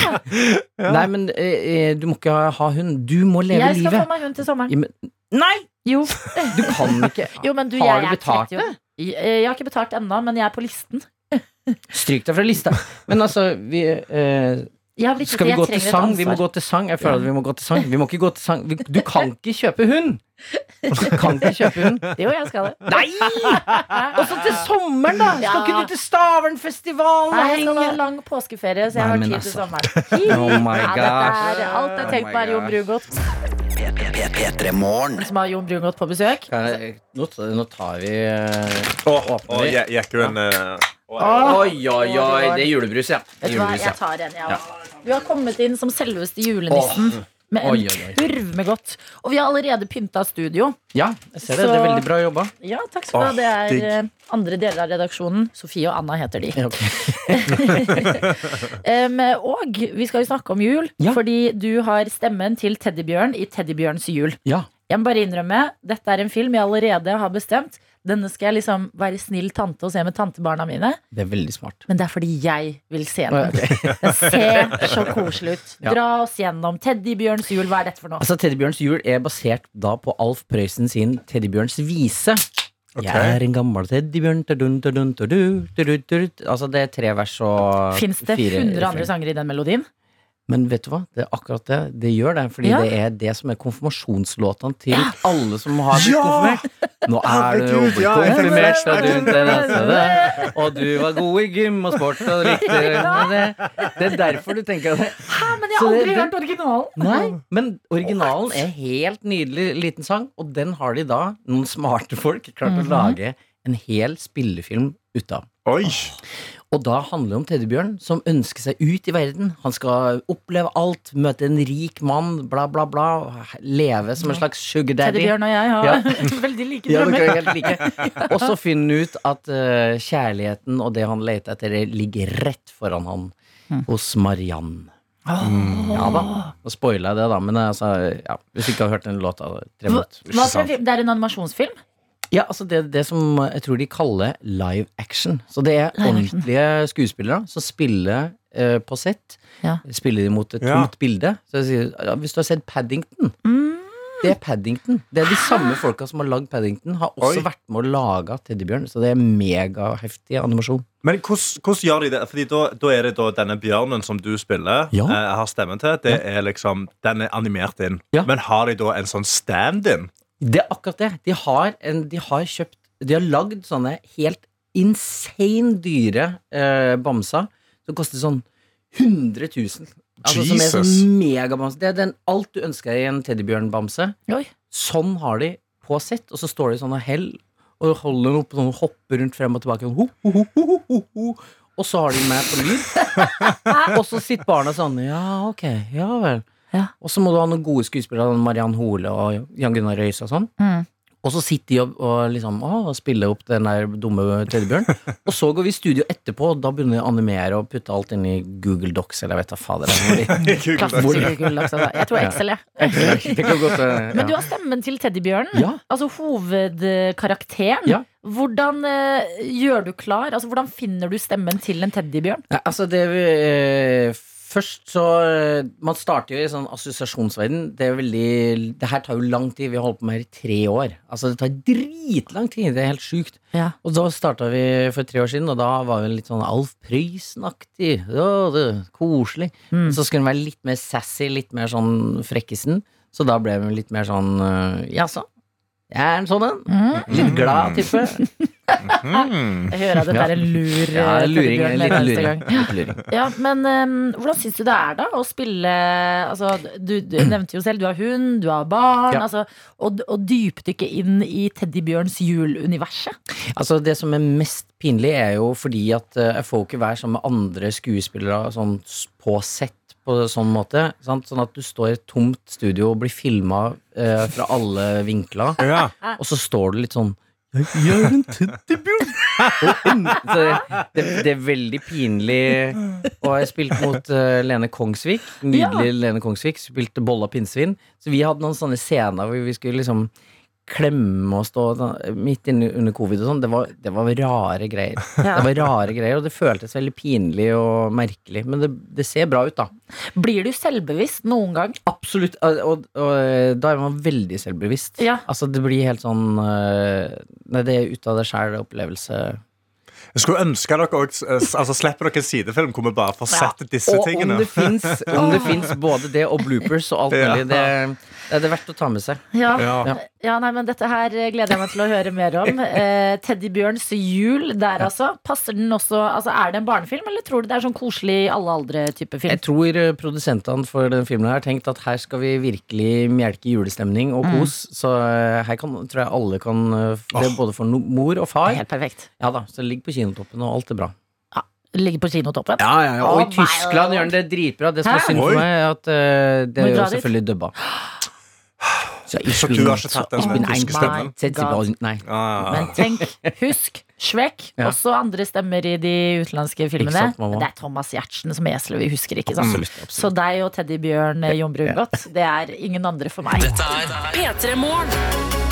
Speaker 2: da.
Speaker 8: Nei, men øh, øh, du må ikke ha hund. Du må leve
Speaker 2: Jeg skal få
Speaker 8: livet.
Speaker 2: meg hund til sommeren.
Speaker 8: Ja, men- Nei!
Speaker 2: Jo,
Speaker 8: Du kan ikke
Speaker 2: *laughs* jo men du, jeg,
Speaker 8: Har du
Speaker 2: er
Speaker 8: betalt
Speaker 2: 30 år. Jeg, jeg har ikke betalt ennå, men jeg er på listen.
Speaker 8: Stryk deg fra lista. Men altså, vi eh,
Speaker 2: Jeg har blitt-
Speaker 8: Skal vi
Speaker 2: jeg
Speaker 8: gå til
Speaker 2: trenger et
Speaker 8: sang? Vi må
Speaker 2: ansvar.
Speaker 8: gå til sang. Jeg føler at vi må gå til sang. Vi må ikke gå til sang. Vi, du kan ikke kjøpe hund! Du kan ikke kjøpe
Speaker 2: *laughs*
Speaker 8: hund.
Speaker 2: Jo, jeg skal det.
Speaker 8: Nei! Og så til sommeren, da! Skal ikke du til Stavernfestivalen
Speaker 2: Nei,
Speaker 8: og
Speaker 2: jeg skal ha
Speaker 8: henge?
Speaker 2: en lang påskeferie, så jeg
Speaker 8: Nei,
Speaker 2: har
Speaker 8: men
Speaker 2: tid til
Speaker 8: altså.
Speaker 2: sommeren.
Speaker 8: Oh my
Speaker 2: Ja,
Speaker 8: gosh.
Speaker 2: dette er alt jeg
Speaker 8: Oh
Speaker 2: tenker
Speaker 8: my
Speaker 2: på, er Jon
Speaker 8: gosh.
Speaker 2: Brugodt,
Speaker 4: P3morgen.
Speaker 2: som har Jon Brugodt på besøk.
Speaker 8: Kan jeg- Nå, nå tar vi eh,
Speaker 3: Og
Speaker 8: åpner vi. Ah.
Speaker 3: gikk hun eh,
Speaker 8: Oi, oi, oi! Det er julebrus, ja. Det
Speaker 2: Vet
Speaker 8: er
Speaker 2: du hva,
Speaker 8: julebrus, ja.
Speaker 2: jeg tar en, jeg også. Du har kommet inn som selveste julenissen. Med
Speaker 8: Oi,
Speaker 2: en
Speaker 8: oi, oi.
Speaker 2: kurv med godt. Og vi har allerede pynta studio.
Speaker 8: Ja, jeg ser det. Det er
Speaker 2: Så-
Speaker 8: veldig bra jobba.
Speaker 2: Ja, takk skal du ha.
Speaker 3: Åh,
Speaker 2: Det er
Speaker 3: digg.
Speaker 2: eh, andre deler av redaksjonen. Sofie og Anna heter de. Em, og vi skal jo snakke om jul,
Speaker 8: Ja.
Speaker 2: fordi du har stemmen til Teddybjørn i Teddybjørns jul.
Speaker 8: Ja.
Speaker 2: Jeg må bare innrømme, dette er en film jeg allerede har bestemt. Denne skal jeg liksom være snill tante og se med tantebarna mine.
Speaker 8: Det er veldig smart.
Speaker 2: Men det er fordi jeg vil se
Speaker 8: Å, ja,
Speaker 2: den. Den ser så koselig ut. Dra oss gjennom Teddybjørns jul. Hva er dette for noe?
Speaker 8: Altså, Teddybjørns jul er basert da på Alf Prøysen sin Teddybjørns vise. Jeg er en gammel teddybjørn tadun, tadun, tadu, tadu, tadu. Altså, det er tre vers og
Speaker 2: Fins det
Speaker 8: fire
Speaker 2: 100
Speaker 8: refreng.
Speaker 2: andre sanger i den melodien?
Speaker 8: Men vet du hva? Det er akkurat det. Det gjør det. Fordi
Speaker 2: Ja.
Speaker 8: det er det som er konfirmasjonslåtene til alle som har blitt
Speaker 5: Ja!
Speaker 8: konfirmert. Nå er du jo
Speaker 5: Herregud,
Speaker 8: blitt
Speaker 5: ja, jeg tenkte det.
Speaker 8: konfirmert, og du, det, det, det. og du var god i gym og sport og
Speaker 2: *laughs*
Speaker 8: likte det. Det er derfor du tenker at det
Speaker 2: Hæ, men jeg har
Speaker 8: Så det-
Speaker 2: aldri
Speaker 8: den-
Speaker 2: hørt originalen!
Speaker 8: Nei, men originalen er helt nydelig liten sang, og den har de da, noen smarte folk, klart
Speaker 2: Mhm.
Speaker 8: å lage en hel spillefilm ut av.
Speaker 3: Oi!
Speaker 8: Og da handler det om Teddybjørn som ønsker seg ut i verden. Han skal oppleve alt, møte en rik mann, bla, bla, bla. Leve som en slags sugar daddy.
Speaker 2: Teddybjørn og jeg har
Speaker 8: Ja.
Speaker 2: *laughs* veldig like
Speaker 8: Ja, dere
Speaker 2: drømmer.
Speaker 8: er helt like.
Speaker 2: *laughs*
Speaker 8: Og så finne ut at eh, kjærligheten og det han leter etter, det ligger rett foran han
Speaker 2: Mm.
Speaker 8: hos Mariann.
Speaker 2: Ah.
Speaker 8: Ja da. Nå spoila jeg det, da, men eh, altså, ja, hvis du ikke har hørt den låta tre
Speaker 2: Hva-
Speaker 8: minutter.
Speaker 2: Hva for en film? Det er en animasjonsfilm?
Speaker 8: Ja, altså det, det som jeg tror de kaller live action. Så det
Speaker 2: Live
Speaker 8: er
Speaker 2: action.
Speaker 8: ordentlige skuespillere som spiller eh, på sett.
Speaker 2: Ja.
Speaker 8: Spiller imot et
Speaker 5: Ja.
Speaker 8: tomt bilde. Så jeg sier, ja, hvis du har sett Paddington
Speaker 2: Mm.
Speaker 8: Det er Paddington. Det er de samme folka som har lagd Paddington, har også
Speaker 3: Oi.
Speaker 8: vært med å lage Teddybjørn. Så det er megaheftig animasjon.
Speaker 3: Men hvordan, hvordan gjør de det? Fordi da, da er det da denne bjørnen som du spiller,
Speaker 8: Ja.
Speaker 3: eh, har stemmen til, det er liksom, den er animert inn.
Speaker 8: Ja.
Speaker 3: Men har de da en sånn stand-in?
Speaker 8: Det er akkurat det. De har, en, de har kjøpt De har lagd sånne helt insane dyre eh, bamser som koster sånn 100 000. Altså, som er
Speaker 3: Jesus.
Speaker 8: sånn megabamse. Det er den, alt du ønsker deg i en teddybjørnbamse.
Speaker 2: Oi.
Speaker 8: Sånn har de på sett, og så står de sånn og hell Og holder den oppe sånn, og hopper rundt frem og tilbake. Sånn, ho, ho, ho, ho, ho, ho, ho. Og så har de meg på lyd.
Speaker 2: *laughs*
Speaker 8: og så sitter barna sånn Ja, ok. Ja vel.
Speaker 2: Ja.
Speaker 8: Og så må du ha noen gode skuespillere, sånn Mariann Hole og Jan Gunnar Røise og sånn.
Speaker 2: Mm.
Speaker 8: Og så sitter de og, og liksom, å, spiller opp den der dumme *laughs* teddybjørnen. og så går vi i studio etterpå, og da begynner vi å animere og putte alt inn i Google Docs. Eller jeg vet da fader. det er *laughs* noe.
Speaker 2: Klassisk Google Docs, altså. Jeg tror
Speaker 8: Ja.
Speaker 2: Excel, jeg.
Speaker 8: Det kan godt, eh,
Speaker 2: Men du
Speaker 8: *laughs* ja.
Speaker 2: har stemmen til teddybjørnen.
Speaker 8: Ja.
Speaker 2: Altså hovedkarakteren.
Speaker 8: Ja.
Speaker 2: Hvordan eh, gjør du klar? Altså, hvordan finner du stemmen til en teddybjørn?
Speaker 8: Nei, altså det vi, eh, Først så eh, Man starter jo i sånn assosiasjonsverden. Det er jo veldig Det her tar jo lang tid. Vi har holdt på med her i tre år. Altså Det tar dritlang tid. Det er helt sjukt.
Speaker 2: Ja.
Speaker 8: Og da starta vi for tre år siden, og da var vi litt sånn Alf Prøysen-aktig. Ja, det er Koselig.
Speaker 2: Mm.
Speaker 8: Så skulle den være litt mer sassy, litt mer sånn frekkisen. Så da ble hun litt mer sånn eh, Jaså? Jeg er en sånn en. Litt glad type.
Speaker 3: hmm.
Speaker 2: Jeg hører at det
Speaker 8: Ja.
Speaker 2: er en lur eh,
Speaker 8: *laughs* Ja, luring.
Speaker 2: teddybjørn
Speaker 8: Litt
Speaker 2: hver eneste
Speaker 8: luring.
Speaker 2: gang.
Speaker 8: Litt luring.
Speaker 2: *laughs* Ja, men eh, hvordan syns du det er da å spille altså, du,
Speaker 8: *clears throat*
Speaker 2: du nevnte jo selv, du har hund, du har barn.
Speaker 8: Ja.
Speaker 2: Altså, og, og dypdykke inn i teddybjørns juluniverset.
Speaker 8: Altså Det som er mest pinlig, er jo fordi at eh, jeg får jo ikke være sammen med andre skuespillere sånn s- på sett på sånn måte. Sant? Sånn at du står i et tomt studio og blir filma eh, fra alle vinkler,
Speaker 5: Ja.
Speaker 8: og så står du litt sånn jeg er en teddybjørn! Og en- Så det, det er veldig pinlig. Og jeg spilte mot eh, Lene Kongsvik. Nydelig Lene Kongsvik. Spilte Bolla pinnsvin. Så vi hadde noen sånne scener hvor vi skulle liksom klemme og stå da- midt inne under covid og sånn, det, var- det var rare greier.
Speaker 2: Ja.
Speaker 8: Det var rare greier, og det føltes veldig pinlig og merkelig. Men det, det ser bra ut, da.
Speaker 2: Blir du selvbevisst noen gang?
Speaker 8: Absolutt. Og, og, og da er man veldig selvbevisst.
Speaker 2: Ja.
Speaker 8: Altså, det blir helt sånn eh, Nei, det er ut av det sjæl-opplevelse.
Speaker 5: Jeg skulle ønske dere også, eh, s- altså, slipper dere en sidefilm hvor vi bare får sett disse
Speaker 8: Og om
Speaker 5: tingene.
Speaker 8: det fins om
Speaker 5: *laughs*
Speaker 8: det finnes både det og bloopers og alt
Speaker 5: Ja.
Speaker 8: mulig, det, det er det verdt å ta med seg.
Speaker 2: Ja.
Speaker 5: Ja.
Speaker 2: Ja, nei, men Dette her eh, gleder jeg meg til å høre mer
Speaker 8: *laughs*
Speaker 2: om. Eh, Teddybjørns jul der, altså. Passer den også, altså. Er det en barnefilm, eller tror du det er sånn koselig alle aldre-type film?
Speaker 8: Jeg tror eh, produsentene for denne filmen har tenkt at her skal vi virkelig melke julestemning og kos. Så eh, her kan, tror jeg alle kan eh, Det er både for no mor og
Speaker 2: Det
Speaker 8: far.
Speaker 2: er Helt perfekt.
Speaker 8: Ja da, Så det ligger på kinotoppen, og alt er bra.
Speaker 2: Ligger på kinotoppen.
Speaker 8: Ja, ja, ja. Og
Speaker 2: Oh
Speaker 8: i
Speaker 2: my
Speaker 8: Tyskland gjør den det dritbra. Det som er
Speaker 2: Hæ?
Speaker 8: synd for
Speaker 5: Oi.
Speaker 8: meg, er at eh, det
Speaker 2: Må vi
Speaker 8: er jo
Speaker 2: dra dit?
Speaker 8: selvfølgelig dubba. Så
Speaker 5: Så du har ikke tatt den
Speaker 2: med tyske stemmen?
Speaker 8: Nei.
Speaker 5: Ah.
Speaker 2: Men tenk, husk, Shrek,
Speaker 8: Ja.
Speaker 2: også andre stemmer i de utenlandske
Speaker 8: Ikke
Speaker 2: filmene.
Speaker 8: sant, mamma?
Speaker 2: det er Thomas Giertsen som esler, vi husker ikke. Sant?
Speaker 8: Absolutt, absolutt.
Speaker 2: Så deg og Teddy Bjørn eh, Jon Brungot, det er ingen andre for meg.
Speaker 1: P3 Morgen.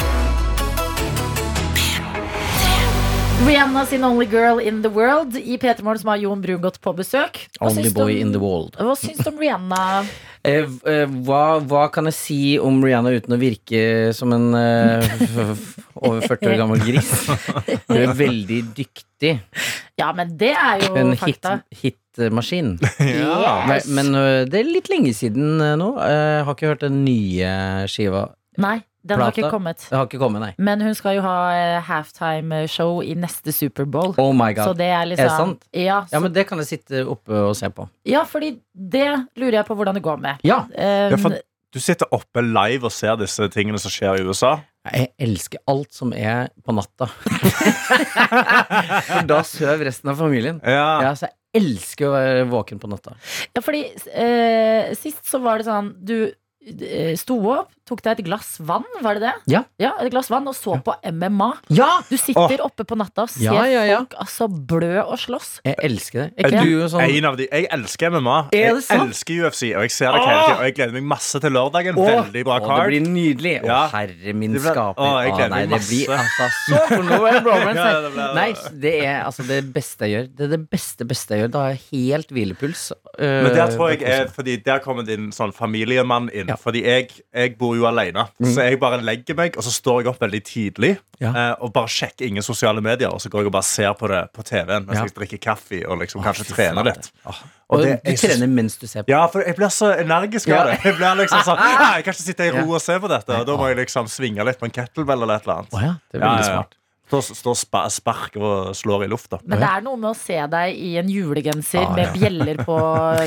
Speaker 2: Rihanna sin Only Girl in the World i P3 Morgen, som har Jon Brungot på besøk. Hva
Speaker 8: Only
Speaker 2: syns du om-
Speaker 8: boy in the world.
Speaker 2: Hva syns du om Rihanna?
Speaker 8: Eh, v- eh, hva, hva kan jeg si om Rihanna uten å virke som en eh, f- f- over 40 år gammel gris? Hun er veldig dyktig.
Speaker 2: Ja, men det er jo
Speaker 8: En hit-
Speaker 2: fakta.
Speaker 8: hitmaskin.
Speaker 2: Ja.
Speaker 8: Men, men eh, det er litt lenge siden eh, nå. Eh, har ikke hørt den nye skiva.
Speaker 2: Nei, den har
Speaker 8: Plata.
Speaker 2: ikke kommet.
Speaker 8: Det har ikke kommet, nei.
Speaker 2: Men hun skal jo ha eh, halftime-show i neste Superbowl.
Speaker 8: Oh my
Speaker 2: Så
Speaker 8: god.
Speaker 2: det er liksom
Speaker 8: Er det sant?
Speaker 2: Ja, så,
Speaker 8: Ja, men det kan jeg sitte oppe og se på.
Speaker 2: ja, fordi det lurer jeg på hvordan det går med.
Speaker 8: Ja.
Speaker 2: Um,
Speaker 5: Ja, for du sitter oppe live og ser disse tingene som skjer i USA.
Speaker 8: Jeg elsker alt som er på *laughs* natta. For da sover resten av familien.
Speaker 5: Ja.
Speaker 8: Ja, så jeg elsker å være våken på natta.
Speaker 2: ja, fordi eh, sist så var det sånn Du eh, sto opp, tok deg et glass vann, var det det?
Speaker 8: Ja.
Speaker 2: Et glass vann, og så på MMA.
Speaker 8: Ja!
Speaker 2: Du sitter oppe på natta og ser
Speaker 8: Ja, ja, ja.
Speaker 2: folk altså blø og slåss.
Speaker 8: Jeg elsker det.
Speaker 5: Er
Speaker 8: Er
Speaker 5: du
Speaker 8: du jo sånn
Speaker 5: En av de, jeg elsker MMA.
Speaker 8: Er
Speaker 5: Jeg
Speaker 8: det sant?
Speaker 5: elsker UFC, og jeg ser det hele tiden. Og jeg gleder meg masse til lørdagen.
Speaker 8: Åh,
Speaker 5: Veldig bra
Speaker 8: åh, det
Speaker 5: card.
Speaker 8: blir nydelig. Å,
Speaker 5: Ja.
Speaker 8: herre min
Speaker 5: Det blir-
Speaker 8: skaper.
Speaker 5: åh, jeg
Speaker 8: Åh,
Speaker 5: gleder
Speaker 8: nei,
Speaker 5: meg
Speaker 8: det
Speaker 5: masse.
Speaker 8: blir altså så for noe er det
Speaker 5: *laughs*
Speaker 8: bromance
Speaker 5: Ja,
Speaker 8: her.
Speaker 5: det ble-
Speaker 8: Nei, det er altså det beste jeg gjør. Det er det beste, beste jeg gjør. Da har jeg helt hvilepuls. øh,
Speaker 5: Men
Speaker 8: eh,
Speaker 5: der tror jeg er, fordi der kommer din sånn familiemann inn.
Speaker 8: Ja. Mm.
Speaker 5: Fordi jeg, jeg bor jo alene. Så jeg bare legger meg, og så står jeg opp veldig tidlig
Speaker 8: Ja.
Speaker 5: eh, og bare sjekker ingen sosiale medier. Og så går jeg og bare ser på det på TV-en mens
Speaker 8: Ja.
Speaker 5: jeg drikker kaffe og liksom
Speaker 8: Åh,
Speaker 5: kanskje
Speaker 8: fy
Speaker 5: trener
Speaker 8: flate.
Speaker 5: litt.
Speaker 8: Åh.
Speaker 5: Og
Speaker 8: Og
Speaker 5: det-
Speaker 8: du
Speaker 5: jeg synes-
Speaker 8: trener mens du ser på.
Speaker 5: Ja, for jeg blir så energisk av
Speaker 8: Ja.
Speaker 5: det. Jeg blir liksom
Speaker 8: *laughs*
Speaker 5: sånn, «Nei, Jeg kan ikke sitte i ro
Speaker 8: Ja.
Speaker 5: og se på dette. Og da må jeg liksom svinge litt på en kettlebell eller et eller annet.
Speaker 8: Åh, ja, det er
Speaker 5: Ja,
Speaker 8: veldig
Speaker 5: ja, ja.
Speaker 8: smart.
Speaker 3: Da står spa, spark og slår i lufta.
Speaker 2: Men det er noe med å se deg i en julegenser
Speaker 8: Ah,
Speaker 2: med bjeller på,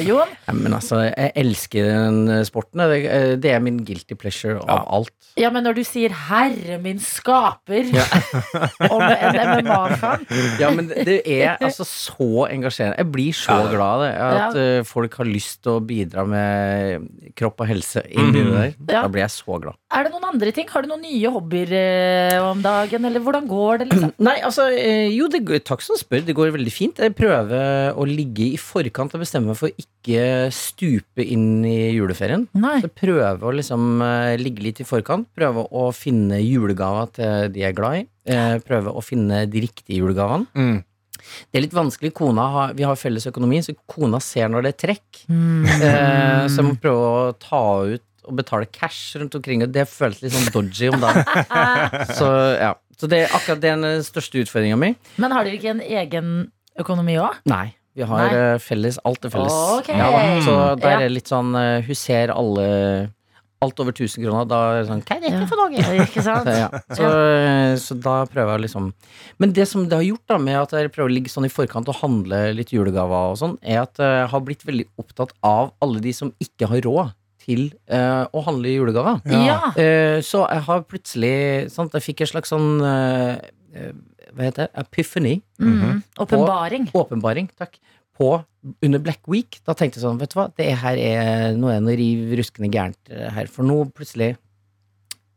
Speaker 2: Jon.
Speaker 8: Ja, men altså, jeg elsker den eh, sporten. Det, eh, det er min guilty pleasure av alt.
Speaker 2: Ja, men når du sier 'Herre min skaper' *laughs* om en MMA-kamp
Speaker 8: Ja, men det- det
Speaker 2: *laughs*
Speaker 8: er altså så engasjerende. Jeg blir så glad av det. At
Speaker 2: Ja.
Speaker 8: eh, folk har lyst til å bidra med kropp og helse inn i det der.
Speaker 2: Ja.
Speaker 8: Da blir jeg så glad. *clears throat*
Speaker 2: Er det noen andre ting? Har du noen nye hobbyer eh, om dagen? Eller hvordan går det? liksom?
Speaker 8: Nei, altså, eh, jo, det, går- takk som spør. Det går veldig fint. Jeg prøver å ligge i forkant og bestemme meg for å ikke stupe inn i juleferien.
Speaker 2: Nei.
Speaker 8: Så prøve å liksom eh, ligge litt i forkant. Prøve å finne julegaver til de jeg er glad i. Eh, Prøve å finne de riktige julegavene.
Speaker 3: Mm.
Speaker 8: Det er litt vanskelig. Kona har, vi har felles økonomi, så kona ser når det er trekk.
Speaker 2: Hmm. Mm.
Speaker 8: Eh, Så jeg må prøve å ta ut og betale cash rundt omkring. Og det føles litt sånn dodgy om dagen. Så, ja. så det er akkurat den eh, største utfordringa mi.
Speaker 2: Men har dere ikke en egen økonomi òg?
Speaker 8: Nei. Vi har
Speaker 2: Nei.
Speaker 8: eh, felles. Alt er felles.
Speaker 2: Ok.
Speaker 8: da. Så der
Speaker 2: Ja.
Speaker 8: er det litt sånn eh, Hun ser alle Alt over 1000 kroner. Da er det sånn Hva er dette
Speaker 2: *laughs*
Speaker 8: for noe?
Speaker 2: Ikke sant?
Speaker 8: Så, ja. så, eh, så da prøver jeg å liksom Men det som det har gjort da med at jeg prøver å ligge sånn i forkant og handle litt julegaver og sånn, er at jeg har blitt veldig opptatt av alle de som ikke har råd til eh, å handle julegaver.
Speaker 2: Ja.
Speaker 8: Eh, så jeg har plutselig sant, Jeg fikk en slags sånn eh, eh, Hva heter det? Epiphany. Mhm.
Speaker 2: Mm. Åpenbaring.
Speaker 8: Åpenbaring, takk. På, under Black Week. Da tenkte jeg sånn, vet du hva, det her er nå er det noe riv ruskende gærent eh, her. For nå plutselig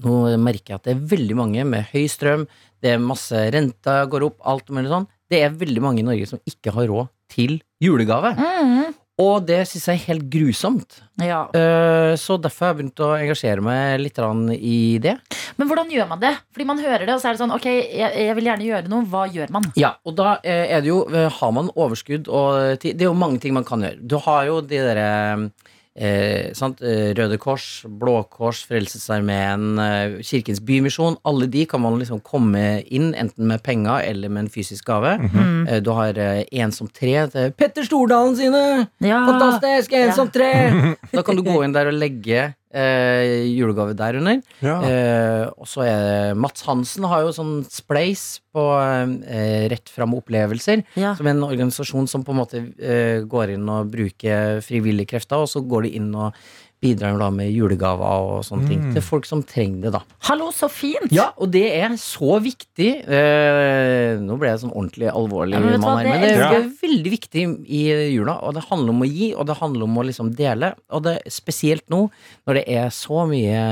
Speaker 8: Nå merker jeg at det er veldig mange med høy strøm, det er masse renta går opp, alt mulig sånn. Det er veldig mange i Norge som ikke har råd til julegave.
Speaker 2: Mm.
Speaker 8: Og det syns jeg er helt grusomt.
Speaker 2: Ja.
Speaker 8: Eh, Så derfor har jeg begynt å engasjere meg litt grann i det.
Speaker 2: Men hvordan gjør man det? Fordi man hører det, og så er det sånn Ok, jeg, jeg vil gjerne gjøre noe. Hva gjør man?
Speaker 8: Ja, og da eh, er det jo eh, Har man overskudd og eh, ti- Det er jo mange ting man kan gjøre. Du har jo de derre eh, sant? eh, Røde Kors, Blå Kors, Frelsesarmeen, eh, Kirkens Bymisjon. Alle de kan man liksom komme inn, enten med penger eller med en fysisk gave.
Speaker 2: Mhm. Mm.
Speaker 8: eh, du har eh, En som tre til Petter Stordalen sine!
Speaker 2: Ja.
Speaker 8: Fantastisk! En
Speaker 2: Ah, Ja.
Speaker 8: som tre! Da kan du gå inn der og legge eh, julegave der under. Eh, og så er det Mats Hansen har jo sånn spleis på eh, Rett fram opplevelser,
Speaker 2: Ja.
Speaker 8: som er en organisasjon som på en måte eh, går inn og bruker frivillige krefter, og så går de inn og bidrar da med julegaver og sånne ting til folk som trenger det, da.
Speaker 2: Hallo, så fint!
Speaker 8: Ja, og det er så viktig. Eh, nå ble jeg sånn ordentlig alvorlig
Speaker 2: Ja, men vet du hva,
Speaker 8: mann her,
Speaker 2: det
Speaker 8: men det,
Speaker 2: elsker
Speaker 8: det er
Speaker 2: jeg.
Speaker 8: veldig viktig i jula. Og det handler om å gi, og det handler om å liksom dele. Og det spesielt nå, når det er så mye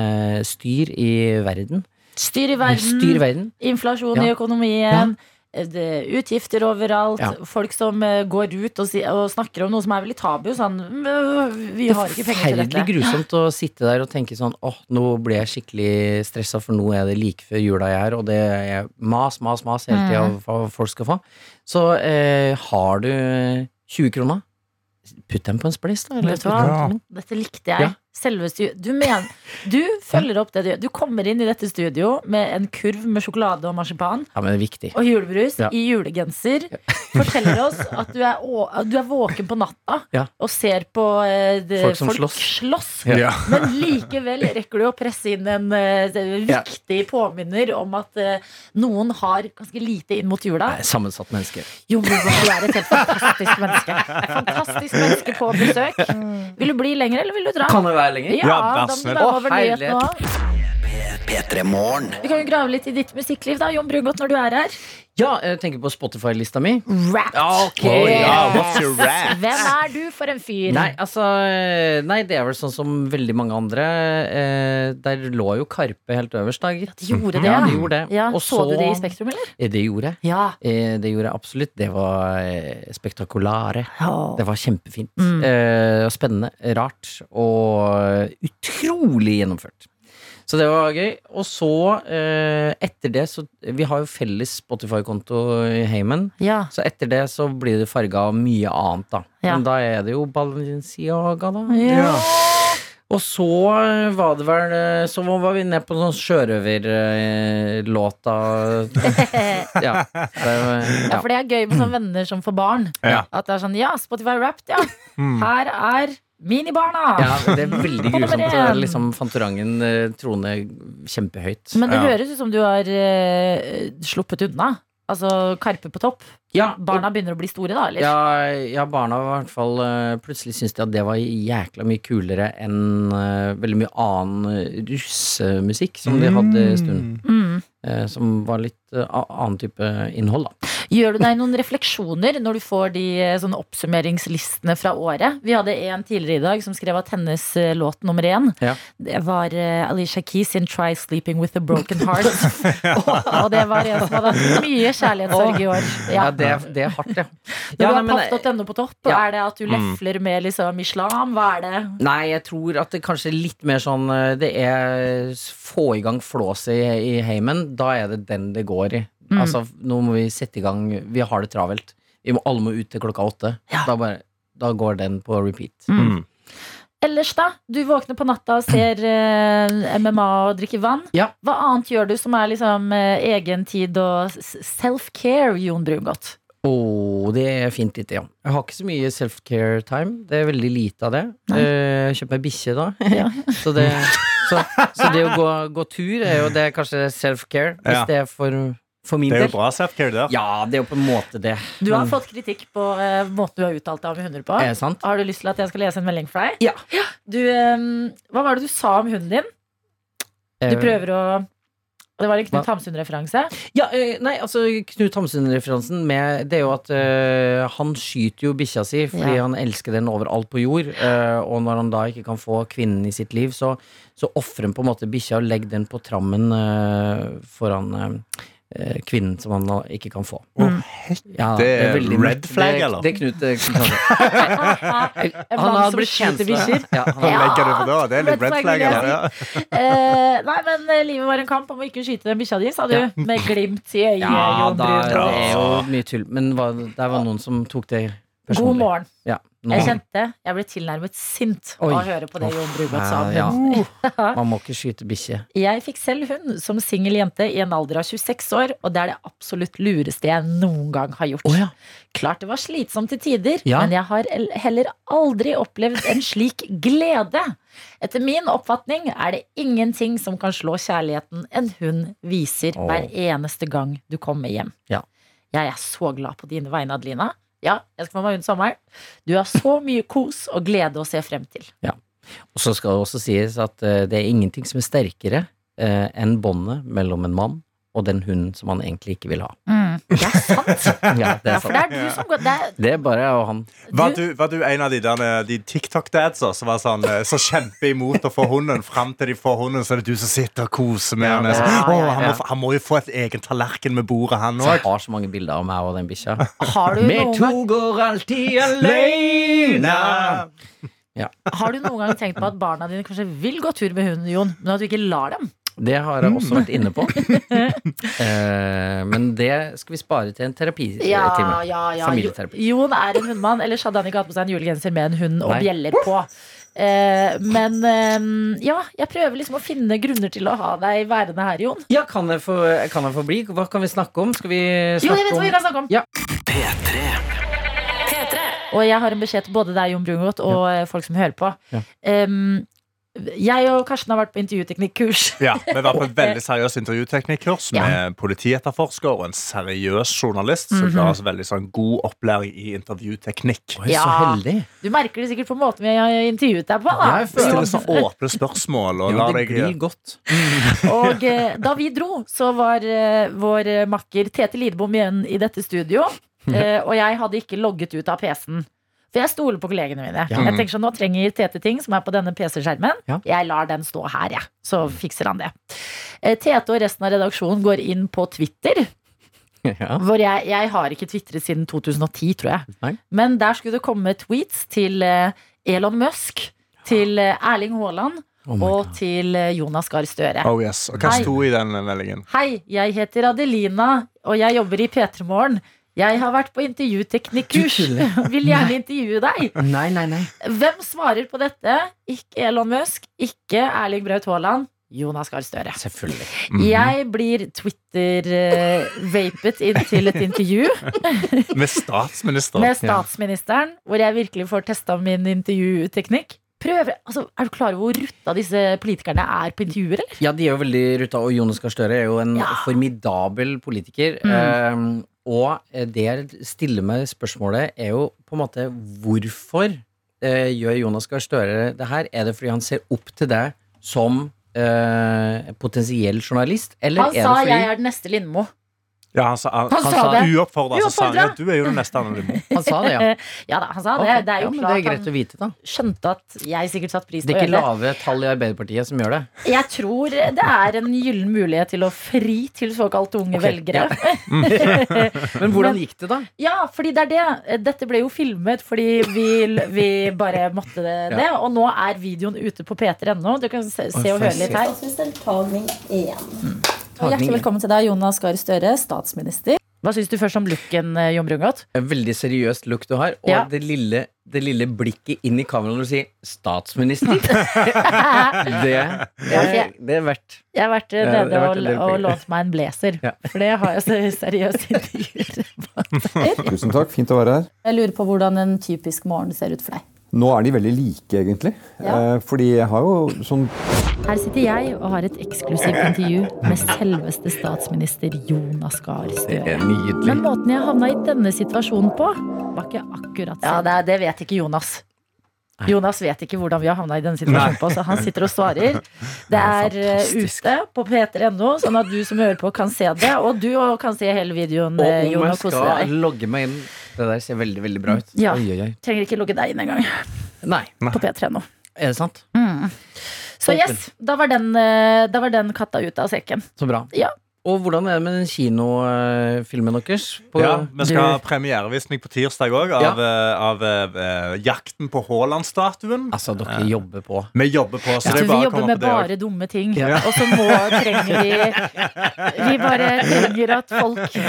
Speaker 8: styr i verden.
Speaker 2: Styr i verden.
Speaker 8: Styr i verden.
Speaker 2: Inflasjon i
Speaker 8: Ja.
Speaker 2: økonomien. eh, Det, utgifter overalt.
Speaker 8: Ja.
Speaker 2: Folk som eh, går ut og, si, og snakker om noe som er veldig tabu. Sånn «Mm, Vi
Speaker 8: Det
Speaker 2: har
Speaker 8: er
Speaker 2: ikke penger til
Speaker 8: forferdelig
Speaker 2: dette.
Speaker 8: grusomt å sitte der og tenke sånn åh, nå ble jeg skikkelig stressa, for nå er det like før jula jeg er, og det er mas, mas, mas hele tida om hva folk skal få. Så eh, har du 20 kroner, putt dem på en spleis, da.
Speaker 2: Vet du hva?
Speaker 5: Ja.
Speaker 2: Dette likte jeg.
Speaker 8: Ja.
Speaker 2: Selveste du, mener, du følger opp det du gjør. Du kommer inn i dette studio med en kurv med sjokolade og marsipan
Speaker 8: Ja, men det er viktig.
Speaker 2: og julebrus
Speaker 8: Ja.
Speaker 2: i julegenser. Forteller oss at du er, å, at du er våken på natta
Speaker 8: Ja.
Speaker 2: og ser på eh, det,
Speaker 8: Folk som slåss.
Speaker 2: slåss.
Speaker 8: Ja.
Speaker 2: Men likevel rekker du å presse inn en eh, viktig påminner om at eh, noen har ganske lite inn mot jula.
Speaker 8: Jeg er Sammensatt menneske.
Speaker 2: Jo, men du er et helt fantastisk menneske. Fantastisk menneske på besøk. Vil du bli lenger, eller vil du dra?
Speaker 8: Mm. Kan det være lenger?
Speaker 2: Ja,
Speaker 3: Ja, vær
Speaker 2: da må du være
Speaker 3: snill.
Speaker 2: med
Speaker 8: Å,
Speaker 2: over nyhetene
Speaker 8: herlighet.
Speaker 2: også.
Speaker 4: P3 Morgen.
Speaker 2: Vi kan jo grave litt i ditt musikkliv, da, Jon Brungot, når du er her.
Speaker 8: Ja, jeg tenker på Spotify-lista mi.
Speaker 2: Rap.
Speaker 8: Ok! eh,
Speaker 3: what's your rap?
Speaker 2: Hvem er du for en fyr?
Speaker 8: Nei, altså Nei, det er vel sånn som veldig mange andre. Eh, der lå jo Karpe helt øverst, da, gitt.
Speaker 2: De gjorde det,
Speaker 8: Ja, de gjorde det.
Speaker 2: Ja,
Speaker 8: Og
Speaker 2: så, du
Speaker 8: så-
Speaker 2: det i Spektrum, eller?
Speaker 8: Eh, Det gjorde jeg.
Speaker 2: Ja.
Speaker 8: Eh, Det gjorde jeg absolutt. Det var eh, spektakulære.
Speaker 2: Åh.
Speaker 8: Det var kjempefint.
Speaker 2: Mm.
Speaker 8: Eh, og spennende, rart og eh, utrolig gjennomført. Så det var gøy. Og så, eh, etter det så Vi har jo felles Spotify-konto i heimen.
Speaker 2: Ja.
Speaker 8: Så etter det så blir det farga av mye annet, da.
Speaker 2: Ja.
Speaker 8: Men da er det jo Balenciaga, da.
Speaker 2: Ja.
Speaker 8: Og så var det vel eh, Så var vi ned på
Speaker 2: *laughs*
Speaker 8: sånn sjørøverlåta Ja.
Speaker 2: *laughs*
Speaker 8: Det,
Speaker 2: ja,
Speaker 8: ja.
Speaker 2: for det er gøy med sånne venner som får barn.
Speaker 3: Ja.
Speaker 2: At det er sånn Ja, Spotify Wrapped, ja. Her er Minibarna!
Speaker 8: Mm. Ja, det er veldig
Speaker 2: Kom med
Speaker 8: grusomt. Det er
Speaker 2: den.
Speaker 8: liksom Fantorangen eh, trone kjempehøyt.
Speaker 2: Men det høres ut som du har eh, sluppet unna. Altså Karpe på topp.
Speaker 8: Ja,
Speaker 2: Barna begynner å bli store, da? Eller?
Speaker 8: Ja, ja, barna var i hvert fall eh, Plutselig syntes de at det var jækla mye kulere enn eh, veldig mye annen eh, russemusikk som de hadde en stund.
Speaker 2: Mm.
Speaker 8: eh, som var litt eh, a- annen type innhold, da.
Speaker 2: Gjør du deg noen refleksjoner når du får de eh, sånne oppsummeringslistene fra året? Vi hadde en tidligere i dag som skrev at hennes eh, låt nummer én
Speaker 8: Ja.
Speaker 2: Det var eh, Alicia Keys sin 'Try Sleeping With A Broken Heart'.
Speaker 8: *laughs*
Speaker 2: *laughs* og, og det var en som hadde hatt mye kjærlighetssorg i år. Ja.
Speaker 8: Ja, det, er- det er
Speaker 2: *laughs*
Speaker 8: hardt, ja.
Speaker 2: Når
Speaker 8: Ja,
Speaker 2: du
Speaker 8: nei, men-
Speaker 2: har paff.no på topp,
Speaker 8: Ja. Mm.
Speaker 2: er det at du lefler med liksom islam? Hva er det?
Speaker 8: eh, Nei, jeg tror at det kanskje er litt mer sånn eh, Det er s- få i gang flåset i, i heimen. Da er det den det går i.
Speaker 2: Mm.
Speaker 8: Altså, nå må vi sette i gang. Vi har det travelt. Vi må, alle må ut til klokka åtte.
Speaker 2: Ja.
Speaker 8: Da, bare, da går den på repeat.
Speaker 3: Mm.
Speaker 2: Ellers, da? Du våkner på natta og ser eh, MMA og drikker vann.
Speaker 8: Ja.
Speaker 2: Hva annet gjør du som er liksom eh, egen tid og s- self-care, Jon Brungot?
Speaker 8: Å, det er fint lite, ja. Jeg har ikke så mye self-care time. Det er veldig lite av det. Eh, Kjøp meg bikkje, da.
Speaker 2: Ja.
Speaker 8: *laughs* så, det, så, så det å gå, gå tur er jo det er kanskje self-care, hvis
Speaker 3: Ja.
Speaker 8: det er for, for min
Speaker 3: Det er jo
Speaker 8: del.
Speaker 3: bra self-care der.
Speaker 8: Ja, det er jo på en måte det.
Speaker 2: Du har
Speaker 8: Men-
Speaker 2: fått kritikk på eh, måten du har uttalt deg om hunder på.
Speaker 8: Er det sant?
Speaker 2: Har du lyst til at jeg skal lese en melding for deg?
Speaker 8: Eh. Ja.
Speaker 2: Du, eh, hva var det du sa om hunden din? Du
Speaker 8: Eh,
Speaker 2: prøver å Det var en
Speaker 8: hva?
Speaker 2: Knut Hamsun-referanse.
Speaker 8: Ja, eh, nei, altså Knut Hamsun-referansen med Det er jo at eh, han skyter jo bikkja si fordi
Speaker 2: Ja.
Speaker 8: han elsker den overalt på jord. eh, og når han da ikke kan få kvinnen i sitt liv, så, så ofrer han på en måte bikkja og legger den på trammen eh, foran eh, kvinnen som han da ikke kan få.
Speaker 2: Mm.
Speaker 8: Ja,
Speaker 3: Det er red
Speaker 8: mørkt.
Speaker 3: flag,
Speaker 8: Det-
Speaker 3: eller?
Speaker 8: Det er Knut, eh, Knut
Speaker 2: *laughs*
Speaker 8: Hamsun.
Speaker 2: En
Speaker 8: Han
Speaker 2: mann
Speaker 8: har
Speaker 2: som
Speaker 8: blitt
Speaker 2: skyter
Speaker 8: kjensla.
Speaker 2: bikkjer.
Speaker 8: Ja, han,
Speaker 3: Han legger det på da. Det er litt
Speaker 2: Red
Speaker 3: red
Speaker 2: flag,
Speaker 3: flag.
Speaker 2: vil jeg
Speaker 3: eller? Ja.
Speaker 2: Eh, nei, men eh, livet var en kamp om å ikke skyte den bikkja di, sa du.
Speaker 8: Ja.
Speaker 2: Med glimt i øyet.
Speaker 8: ja
Speaker 2: Jon
Speaker 8: da, det
Speaker 2: Brun.
Speaker 8: er jo mye tull. Men hva, der var noen som tok det
Speaker 2: God
Speaker 8: personlig.
Speaker 2: morgen.
Speaker 8: Ja, nå-
Speaker 2: Jeg kjente jeg ble tilnærmet sint
Speaker 8: Oi.
Speaker 2: av å høre på det Jon Brungot sa om
Speaker 8: Eh, Ja,
Speaker 2: hunden.
Speaker 8: Man må ikke skyte bikkje.
Speaker 2: Jeg fikk selv hund som singel jente i en alder av 26 år, og det er det absolutt lureste jeg noen gang har gjort.
Speaker 8: Å, ja.
Speaker 2: Klart det var slitsomt til tider,
Speaker 8: Ja.
Speaker 2: men jeg har el- heller aldri opplevd en slik glede. Etter min oppfatning er det ingenting som kan slå kjærligheten en hund viser
Speaker 8: Åh.
Speaker 2: hver eneste gang du kommer hjem.
Speaker 8: Ja.
Speaker 2: Jeg er så glad på dine vegne, Adelina. Ja, jeg skal få meg hund sommeren. Du har så mye kos og glede å se frem til.
Speaker 8: Og så skal det også sies at eh, det er ingenting som er sterkere eh, enn båndet mellom en mann og den hunden som han egentlig ikke vil ha.
Speaker 2: Det er sant.
Speaker 8: Ja, *laughs* det
Speaker 2: Ja,
Speaker 8: er
Speaker 2: for det
Speaker 8: sant.
Speaker 2: er du som går det er,
Speaker 8: Det er bare å han
Speaker 3: Var du, var du en av de, derne- de TikTok-dadsa som var sånn, eh, som kjemper imot å få hunden? Fram til de får hunden, så er det du som sitter og koser med henne. Så,
Speaker 8: ja, ja,
Speaker 3: «Åh, han,
Speaker 8: ja.
Speaker 3: må, f- han må jo få et egen tallerken med bordet, han
Speaker 8: som
Speaker 3: òg.
Speaker 8: har så mange bilder av meg og den bikkja.
Speaker 2: Har du,
Speaker 8: Vi
Speaker 2: noen
Speaker 8: to
Speaker 2: gang,
Speaker 8: går alltid alene
Speaker 2: har du noen gang tenkt på at barna dine kanskje vil gå tur med hunden, Jon, men at du ikke lar dem?
Speaker 8: Det har jeg
Speaker 2: Mm.
Speaker 8: også vært inne på.
Speaker 2: *laughs*
Speaker 8: Eh, men det skal vi spare til en terapitime. Familieterapi.
Speaker 2: Jon er en hundemann, ellers hadde han ikke hatt på seg en julegenser med en hund og
Speaker 8: Nei.
Speaker 2: bjeller på. Eh, men eh, ja, jeg prøver liksom å finne grunner til å ha deg værende her, Jon.
Speaker 8: Ja, kan jeg, få, kan jeg få bli? Hva kan vi snakke om? Skal vi
Speaker 2: Jo, jeg
Speaker 8: snakke
Speaker 2: vet hva
Speaker 8: om
Speaker 2: vi kan snakke om!
Speaker 8: Ja.
Speaker 2: Og jeg har en beskjed til både deg, Jon Brungot, og eh, folk som hører på.
Speaker 8: Ja.
Speaker 2: Em, jeg og Karsten har vært på intervjuteknikkurs.
Speaker 3: Ja, vi var på et veldig seriøst intervjuteknikkurs med en politietterforsker og en seriøs journalist som
Speaker 2: Mhm.
Speaker 3: ga oss veldig sånn, god opplæring i intervjuteknikk.
Speaker 8: Oi, så
Speaker 2: Ja.
Speaker 8: heldig.
Speaker 2: Du merker det sikkert på måten vi har intervjuet deg på. Da.
Speaker 8: Ja, jeg føler
Speaker 2: Jon.
Speaker 3: Stille sånn åpne spørsmål og
Speaker 8: Ja,
Speaker 3: lar
Speaker 8: det glir
Speaker 3: deg
Speaker 8: godt.
Speaker 2: Og eh, da vi dro, så var eh, vår eh, makker Tete Lidbom igjen i dette studio. Eh, og jeg hadde ikke logget ut av PC-en. For jeg stoler på kollegene mine. Jeg tenker sånn, Nå trenger Tete ting som er på denne PC-skjermen.
Speaker 8: Mm. Ja.
Speaker 2: Jeg lar den stå her, jeg. Så fikser han det. Eh, Tete og resten av redaksjonen går inn på Twitter.
Speaker 8: *laughs* Ja.
Speaker 2: Hvor jeg, jeg har ikke twitret siden 2010, tror jeg.
Speaker 8: Nei.
Speaker 2: Men der skulle det komme tweets til eh, Elon Musk, til eh, Erling Haaland
Speaker 8: Oh my
Speaker 2: og til eh, Jonas Gahr Støre.
Speaker 3: Oh yes, Og hva
Speaker 2: Nei.
Speaker 3: sto i den meldingen?
Speaker 2: Hei, jeg heter Adelina, og jeg jobber i P3 Morgen. Jeg har vært på intervjuteknikkurs.
Speaker 8: Du tuller.
Speaker 2: *laughs* Vil gjerne intervjue deg.
Speaker 8: Nei, nei, nei.
Speaker 2: Hvem svarer på dette? Ikke Elon Musk, ikke Erling Braut Haaland. Jonas Gahr Støre.
Speaker 8: Selvfølgelig.
Speaker 2: Jeg blir Twitter-vapet inn til et
Speaker 8: *laughs*
Speaker 2: intervju
Speaker 3: Mhm. Med statsminister.
Speaker 2: med statsministeren, hvor jeg virkelig får testa min intervjuteknikk. Prøver, altså, Er du klar over hvor rutta disse politikerne er på intervjuer, eller?
Speaker 8: Ja, de er jo veldig ruta, og Jonas Gahr Støre er jo en
Speaker 2: Ja. Mm.
Speaker 8: formidabel politiker. Eh, og det jeg stiller meg spørsmålet, er jo på en måte hvorfor eh, gjør Jonas Gahr Støre det her? Er det fordi han ser opp til deg som eh, potensiell journalist? Eller
Speaker 2: Han
Speaker 8: er
Speaker 2: sa
Speaker 8: det fordi
Speaker 2: 'jeg er den neste Lindmo'.
Speaker 3: Ja, han sa, han,
Speaker 2: Han sa det.
Speaker 3: Uoppfordra så sa han ja,
Speaker 2: Uoppfordret.
Speaker 3: du er jo den neste
Speaker 2: *laughs*
Speaker 3: Anne Lindmo.
Speaker 8: Han sa det, ja.
Speaker 2: Ja da, han sa
Speaker 8: Ok,
Speaker 2: det. Det er jo
Speaker 8: ja, men det er
Speaker 2: klart
Speaker 8: greit
Speaker 2: han
Speaker 8: å vite, da.
Speaker 2: skjønte at jeg sikkert satte pris på
Speaker 8: Det
Speaker 2: å
Speaker 8: er ikke
Speaker 2: gjøre det.
Speaker 8: lave tall i Arbeiderpartiet som gjør det.
Speaker 2: Jeg tror det er en gyllen mulighet til å fri til såkalt unge
Speaker 8: Ok,
Speaker 2: velgere.
Speaker 8: Men hvordan gikk det, da?
Speaker 2: *laughs* Ja, fordi det er det. Dette ble jo filmet fordi vi, vi bare måtte det. det. Og nå er videoen ute på p3.no. Du kan se, se og høre litt her.
Speaker 9: Statsministertagning igjen. Og
Speaker 8: Mm. Tagning, ja.
Speaker 9: hjertelig velkommen til deg, Jonas Gahr Støre, statsminister.
Speaker 2: Hva syns du først om looken, eh, Jon Brungot?
Speaker 8: En veldig seriøst look du har, og
Speaker 2: Ja.
Speaker 8: det, lille, det lille blikket inn i kameraet når du sier
Speaker 2: *laughs*
Speaker 8: 'statsminister'. det, er, det er verdt.
Speaker 2: Jeg har vært eh,
Speaker 8: Ja, det
Speaker 2: nede
Speaker 8: har
Speaker 2: og,
Speaker 8: vært en del
Speaker 2: og
Speaker 8: penger.
Speaker 2: lånt meg en blazer.
Speaker 8: Ja.
Speaker 2: For det har jeg se- seriøst intervjuer.
Speaker 8: *laughs*
Speaker 10: Tusen takk, fint å være her.
Speaker 9: Jeg lurer på hvordan en typisk morgen ser ut for deg.
Speaker 10: Nå er de veldig like, egentlig.
Speaker 9: Ja.
Speaker 10: Eh, Fordi jeg har jo sånn
Speaker 2: Her sitter jeg og har et eksklusivt intervju med selveste statsminister Jonas Gahr Støre.
Speaker 8: nydelig.
Speaker 2: Men måten jeg havna i denne situasjonen på, var ikke akkurat sånn. Ja, det, det vet ikke Jonas. Jonas vet ikke hvordan vi har havna i denne situasjonen på, så han sitter og
Speaker 8: *laughs*
Speaker 2: svarer. Det er eh,
Speaker 8: Fantastisk.
Speaker 2: ute på p3.no, sånn at du som hører på, kan se det. Og du òg kan se hele videoen,
Speaker 8: Og
Speaker 2: eh,
Speaker 8: om
Speaker 2: Jon, og
Speaker 8: jeg
Speaker 2: kose
Speaker 8: skal
Speaker 2: deg.
Speaker 8: logge meg inn Det der ser veldig, veldig bra ut.
Speaker 2: Ja.
Speaker 8: Oi, oi, oi.
Speaker 2: Trenger ikke logge deg inn engang
Speaker 8: Nei,
Speaker 2: på p3.no.
Speaker 8: er det sant?
Speaker 2: Mm. Så yes, da var, den, eh, da var den katta ute av sekken.
Speaker 8: Så bra.
Speaker 2: Ja.
Speaker 8: Og hvordan er det med den kinofilmen deres? På-
Speaker 3: Ja, Vi skal ha premierevisning på tirsdag òg av,
Speaker 8: Ja.
Speaker 3: eh, av eh, Jakten på Haaland-statuen.
Speaker 8: Altså, dere jobber på.
Speaker 3: Vi jobber på, så
Speaker 2: Så
Speaker 3: det er
Speaker 2: vi
Speaker 3: bare å
Speaker 2: jobber
Speaker 3: komme
Speaker 2: med
Speaker 3: på det òg.
Speaker 2: bare dumme ting,
Speaker 8: Ja.
Speaker 2: og så må, trenger vi Vi bare trenger at folk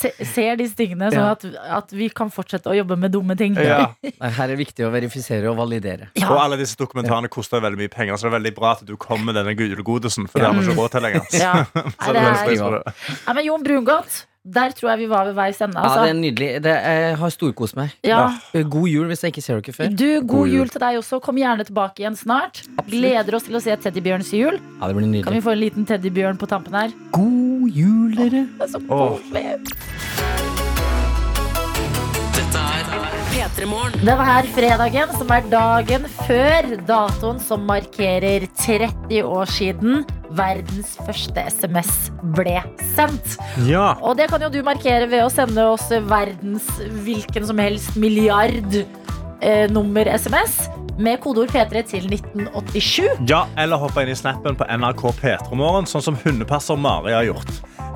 Speaker 2: se, ser disse tingene, sånn
Speaker 8: Ja.
Speaker 2: at, at vi kan fortsette å jobbe med dumme ting.
Speaker 3: Ja.
Speaker 8: Nei, Her er det viktig å verifisere og validere.
Speaker 2: *laughs* Ja.
Speaker 3: Og alle disse dokumentarene koster veldig mye penger, så det er veldig bra at du kom med denne julegodisen. For det har vi
Speaker 2: Mm.
Speaker 3: ikke råd til lenger. *laughs*
Speaker 2: Ja. Nei,
Speaker 3: Så
Speaker 2: det
Speaker 3: det
Speaker 2: er,
Speaker 3: setter pris på det.
Speaker 2: ja, men Jon Brungot, der tror jeg vi var ved veis ende.
Speaker 8: Ja, det er
Speaker 2: Altså.
Speaker 8: nydelig. Det, jeg har storkost meg. Eh,
Speaker 2: Ja.
Speaker 8: God jul hvis jeg ikke ser dere før.
Speaker 2: Du, god jul til deg også. Kom gjerne tilbake igjen snart. Gleder oss til å se Teddybjørns jul.
Speaker 8: Ja, det blir nydelig.
Speaker 2: Kan vi få en liten teddybjørn på tampen her?
Speaker 8: God jul, dere!
Speaker 2: Det er så koselig.
Speaker 1: P3 Morgen.
Speaker 2: Denne fredagen, som er dagen før datoen som markerer 30 år siden verdens første SMS ble sendt.
Speaker 3: Ja.
Speaker 2: Og det kan jo du markere ved å sende oss verdens hvilken som helst milliard eh, nummer SMS med kodeord P3 til 1987.
Speaker 3: ja, eller hoppe inn i snappen på NRK P3morgen, sånn som hundepasser Mari har gjort.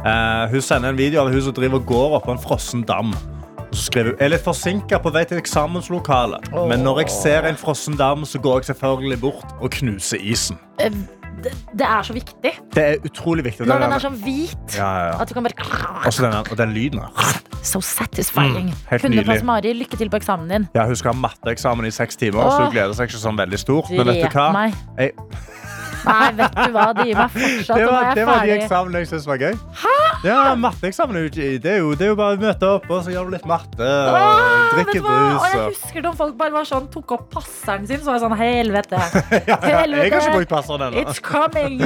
Speaker 3: Eh, hun sender en video av hun som driver og går oppå en frossen dam. Og Så skriver hun, jeg er litt forsinket på vei til eksamenslokalet, men når jeg ser en frossen dam, så går jeg selvfølgelig bort og knuser isen.
Speaker 2: Eh, det, det er så viktig.
Speaker 3: Det er utrolig viktig.
Speaker 2: Når den er sånn hvit
Speaker 3: ja, ja, ja.
Speaker 2: at du kan bare
Speaker 3: Også den, og den lyden her.
Speaker 2: So satisfying.
Speaker 3: Mm, helt
Speaker 2: Kundeplass
Speaker 3: nydelig.
Speaker 2: Mari, lykke til på eksamen din.
Speaker 3: Ja, hun skal ha matteeksamen i seks timer, så
Speaker 2: Åh.
Speaker 3: hun gleder seg ikke sånn veldig stort. Men vet du
Speaker 2: Drep
Speaker 3: hva?
Speaker 2: meg.
Speaker 3: Jeg,
Speaker 2: Nei, vet du hva, det gir meg fortsatt.
Speaker 3: *laughs* det
Speaker 2: og nå er
Speaker 3: var,
Speaker 2: jeg
Speaker 3: det var de
Speaker 2: ferdig.
Speaker 3: eksamene jeg syntes var gøy. Ja, matteeksamen er jo ikke- det er jo, det er jo bare å møte opp, og så gjør du litt matte, og
Speaker 2: Åh,
Speaker 3: drikker
Speaker 2: vet du hva? Og
Speaker 3: brus.
Speaker 2: jeg
Speaker 3: Og...
Speaker 2: husker da folk bare var sånn, tok opp passeren sin, så var jeg sånn Helvete!
Speaker 3: *laughs* Ja, ja, jeg har
Speaker 2: Helvete.
Speaker 3: ikke brukt passeren ennå.
Speaker 2: It's coming!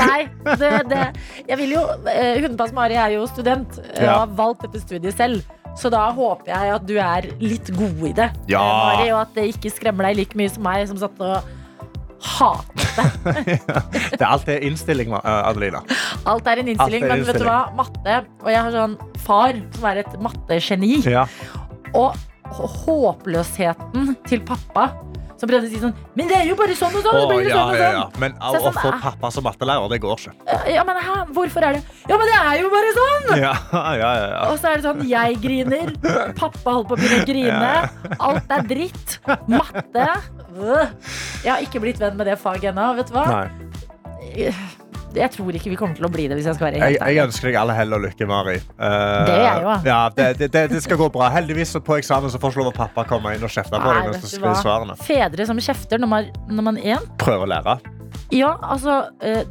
Speaker 2: Nei, det, det Jeg vil jo eh, Hundepass Mari er jo student eh, og
Speaker 3: Ja.
Speaker 2: har valgt dette studiet selv. Så da håper jeg at du er litt god i det,
Speaker 3: Ja.
Speaker 2: eh, Mari, og at det ikke skremmer deg like mye som meg, som satt og hatet
Speaker 3: Det er alltid innstilling, Ma- eh, Adelina.
Speaker 2: Alt er en innstilling,
Speaker 3: Alt er en
Speaker 2: men vet du hva? Matte. Og jeg har sånn far som er et mattegeni.
Speaker 3: Ja.
Speaker 2: Og hå- håpløsheten til pappa som prøvde å si sånn Men det er jo bare sånn og sånn! og så
Speaker 3: Å,
Speaker 2: blir det
Speaker 3: ja,
Speaker 2: sånn og
Speaker 3: ja,
Speaker 2: sånn.
Speaker 3: ja. Men
Speaker 2: Så jeg
Speaker 3: å å
Speaker 2: sånn,
Speaker 3: få
Speaker 2: ah.
Speaker 3: pappa som mattelærer, det går ikke.
Speaker 2: Ja, men hæ, hvorfor er det Ja, men det er jo bare sånn!
Speaker 3: *laughs* Ja, ja, ja, ja.
Speaker 2: Og så er det sånn jeg griner, pappa holder på å begynne å grine, alt er dritt. Matte. øh. Jeg har ikke blitt venn med det faget ennå, vet du hva?
Speaker 3: Nei.
Speaker 2: jeg tror ikke vi kommer til å bli det, hvis jeg skal være
Speaker 3: Jeg,
Speaker 2: helt
Speaker 3: jeg
Speaker 2: ærlig.
Speaker 3: ønsker deg all hell og lykke, Mari. Eh,
Speaker 2: Det gjør jeg jo, da.
Speaker 3: ja, det, det, det, det skal gå bra. Heldigvis så på eksamen så får ikke lov at pappa komme inn og kjefte på
Speaker 2: Nei,
Speaker 3: deg. mens
Speaker 2: vet
Speaker 3: du
Speaker 2: du
Speaker 3: skriver
Speaker 2: hva?
Speaker 3: svarene.
Speaker 2: Fedre som kjefter når man, når man er en.
Speaker 3: Prøv å lære.
Speaker 2: Ja, altså eh,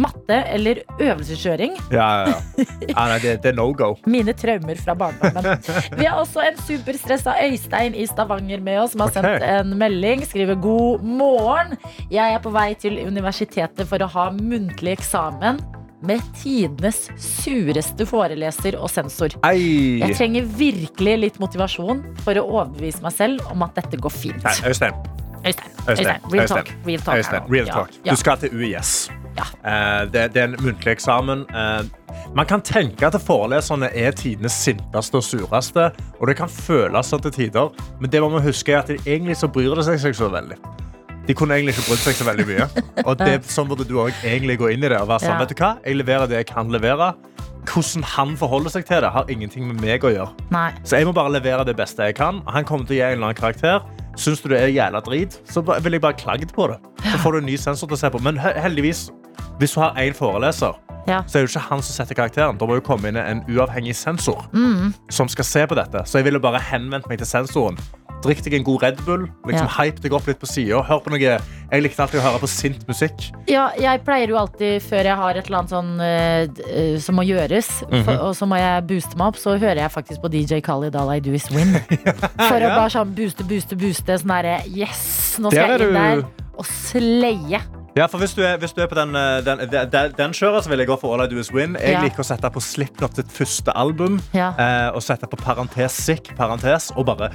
Speaker 2: matte eller øvelseskjøring.
Speaker 3: Ja, ja, ja. Ja, nei, det, det er no go.
Speaker 2: Mine traumer fra
Speaker 3: *laughs*
Speaker 2: barndommen. Vi har også en superstressa Øystein i Stavanger med oss, som har
Speaker 3: Ok.
Speaker 2: sendt en melding. Skriver 'God morgen'. Jeg er på vei til universitetet for å ha muntlig eksamen med tidenes sureste foreleser og sensor.
Speaker 3: Ei.
Speaker 2: Jeg trenger virkelig litt motivasjon for å overbevise meg selv om at dette går fint.
Speaker 3: Nei, Øystein.
Speaker 2: Øystein, Øystein, real
Speaker 3: Øystein.
Speaker 2: talk. Real talk.
Speaker 3: Øystein,
Speaker 2: her nå.
Speaker 3: real
Speaker 2: Ja,
Speaker 3: talk.
Speaker 2: ja.
Speaker 3: Du skal til UiS.
Speaker 2: Ja.
Speaker 3: Eh, det, det er en muntlig eksamen. Eh, man kan tenke at foreleserne er tidenes sinteste og sureste, og det kan føles sånn til tider, men det må man huske er at de egentlig så bryr de seg ikke så veldig. De kunne egentlig ikke brydd seg så veldig mye. Og det,
Speaker 2: *laughs*
Speaker 3: sånn burde du også egentlig gå inn i det og være sånn,
Speaker 2: Ja.
Speaker 3: vet du hva? Jeg leverer det jeg kan levere. Hvordan han forholder seg til det, har ingenting med meg å gjøre.
Speaker 2: Nei.
Speaker 3: Så jeg må bare levere det beste jeg kan. Han kommer til å gi en eller annen karakter. Syns du det er jævla drit, så ba- vil jeg bare klage på det. Så får du en ny sensor til å se på. Men he- heldigvis, hvis du har én foreleser,
Speaker 2: Ja.
Speaker 3: så er det jo ikke han som setter karakteren. Da må jo komme inn en uavhengig sensor
Speaker 2: Mhm.
Speaker 3: som skal se på dette. Så jeg ville bare henvendt meg til sensoren. Drikk deg en god Red Bull, liksom
Speaker 2: Ja.
Speaker 3: hype deg opp litt på sida. Hør på noe Jeg likte alltid å høre på sint musikk.
Speaker 2: Ja, jeg pleier jo alltid, før jeg har et eller annet sånn eh, d- eh, som må gjøres, for,
Speaker 3: Mhm.
Speaker 2: og så må jeg booste meg opp, så hører jeg faktisk på DJ Khalid All I Do Is
Speaker 3: *laughs*
Speaker 2: Win. For å bare sånn booste, booste, booste. Sånn derre yes, nå
Speaker 3: Der
Speaker 2: skal jeg
Speaker 3: er
Speaker 2: inn
Speaker 3: du-
Speaker 2: der og sleie.
Speaker 3: Ja, for hvis du er, hvis du er på den, eh, den, den, den kjøret, så vil jeg gå for All I Do Is Win. Jeg
Speaker 2: Ja.
Speaker 3: liker å sette på Slipknot sitt første album.
Speaker 2: Ja.
Speaker 3: Eh, og sette på parentes sick, parentes, og bare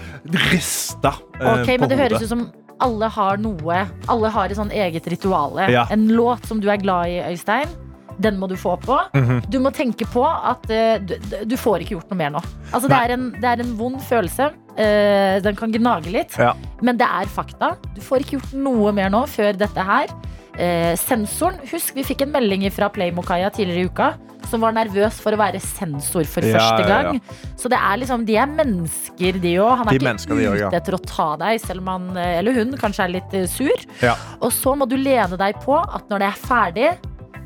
Speaker 3: riste eh,
Speaker 2: Ok,
Speaker 3: på
Speaker 2: men det
Speaker 3: hodet.
Speaker 2: høres ut som alle har noe Alle har et sånn eget rituale.
Speaker 3: Ja.
Speaker 2: En låt som du er glad i, Øystein. Den må du få på.
Speaker 3: Mhm.
Speaker 2: Du må tenke på at eh, du, du får ikke gjort noe mer nå. Altså, det,
Speaker 3: Nei.
Speaker 2: er en, det er en vond følelse. Eh, den kan gnage litt.
Speaker 3: Ja.
Speaker 2: Men det er fakta. Du får ikke gjort noe mer nå før dette her. Eh, sensoren Husk vi fikk en melding fra Playmokaya tidligere i uka. Som var nervøs for å være sensor for
Speaker 3: Ja,
Speaker 2: første
Speaker 3: ja, ja.
Speaker 2: gang. Så det er liksom, de er mennesker, de òg. Han
Speaker 3: De
Speaker 2: er
Speaker 3: mennesker,
Speaker 2: ikke
Speaker 3: de også,
Speaker 2: ute
Speaker 3: ja.
Speaker 2: etter å ta deg, selv om han eh, eller hun kanskje er litt eh, sur.
Speaker 3: Ja.
Speaker 2: Og så må du lene deg på at når det er ferdig,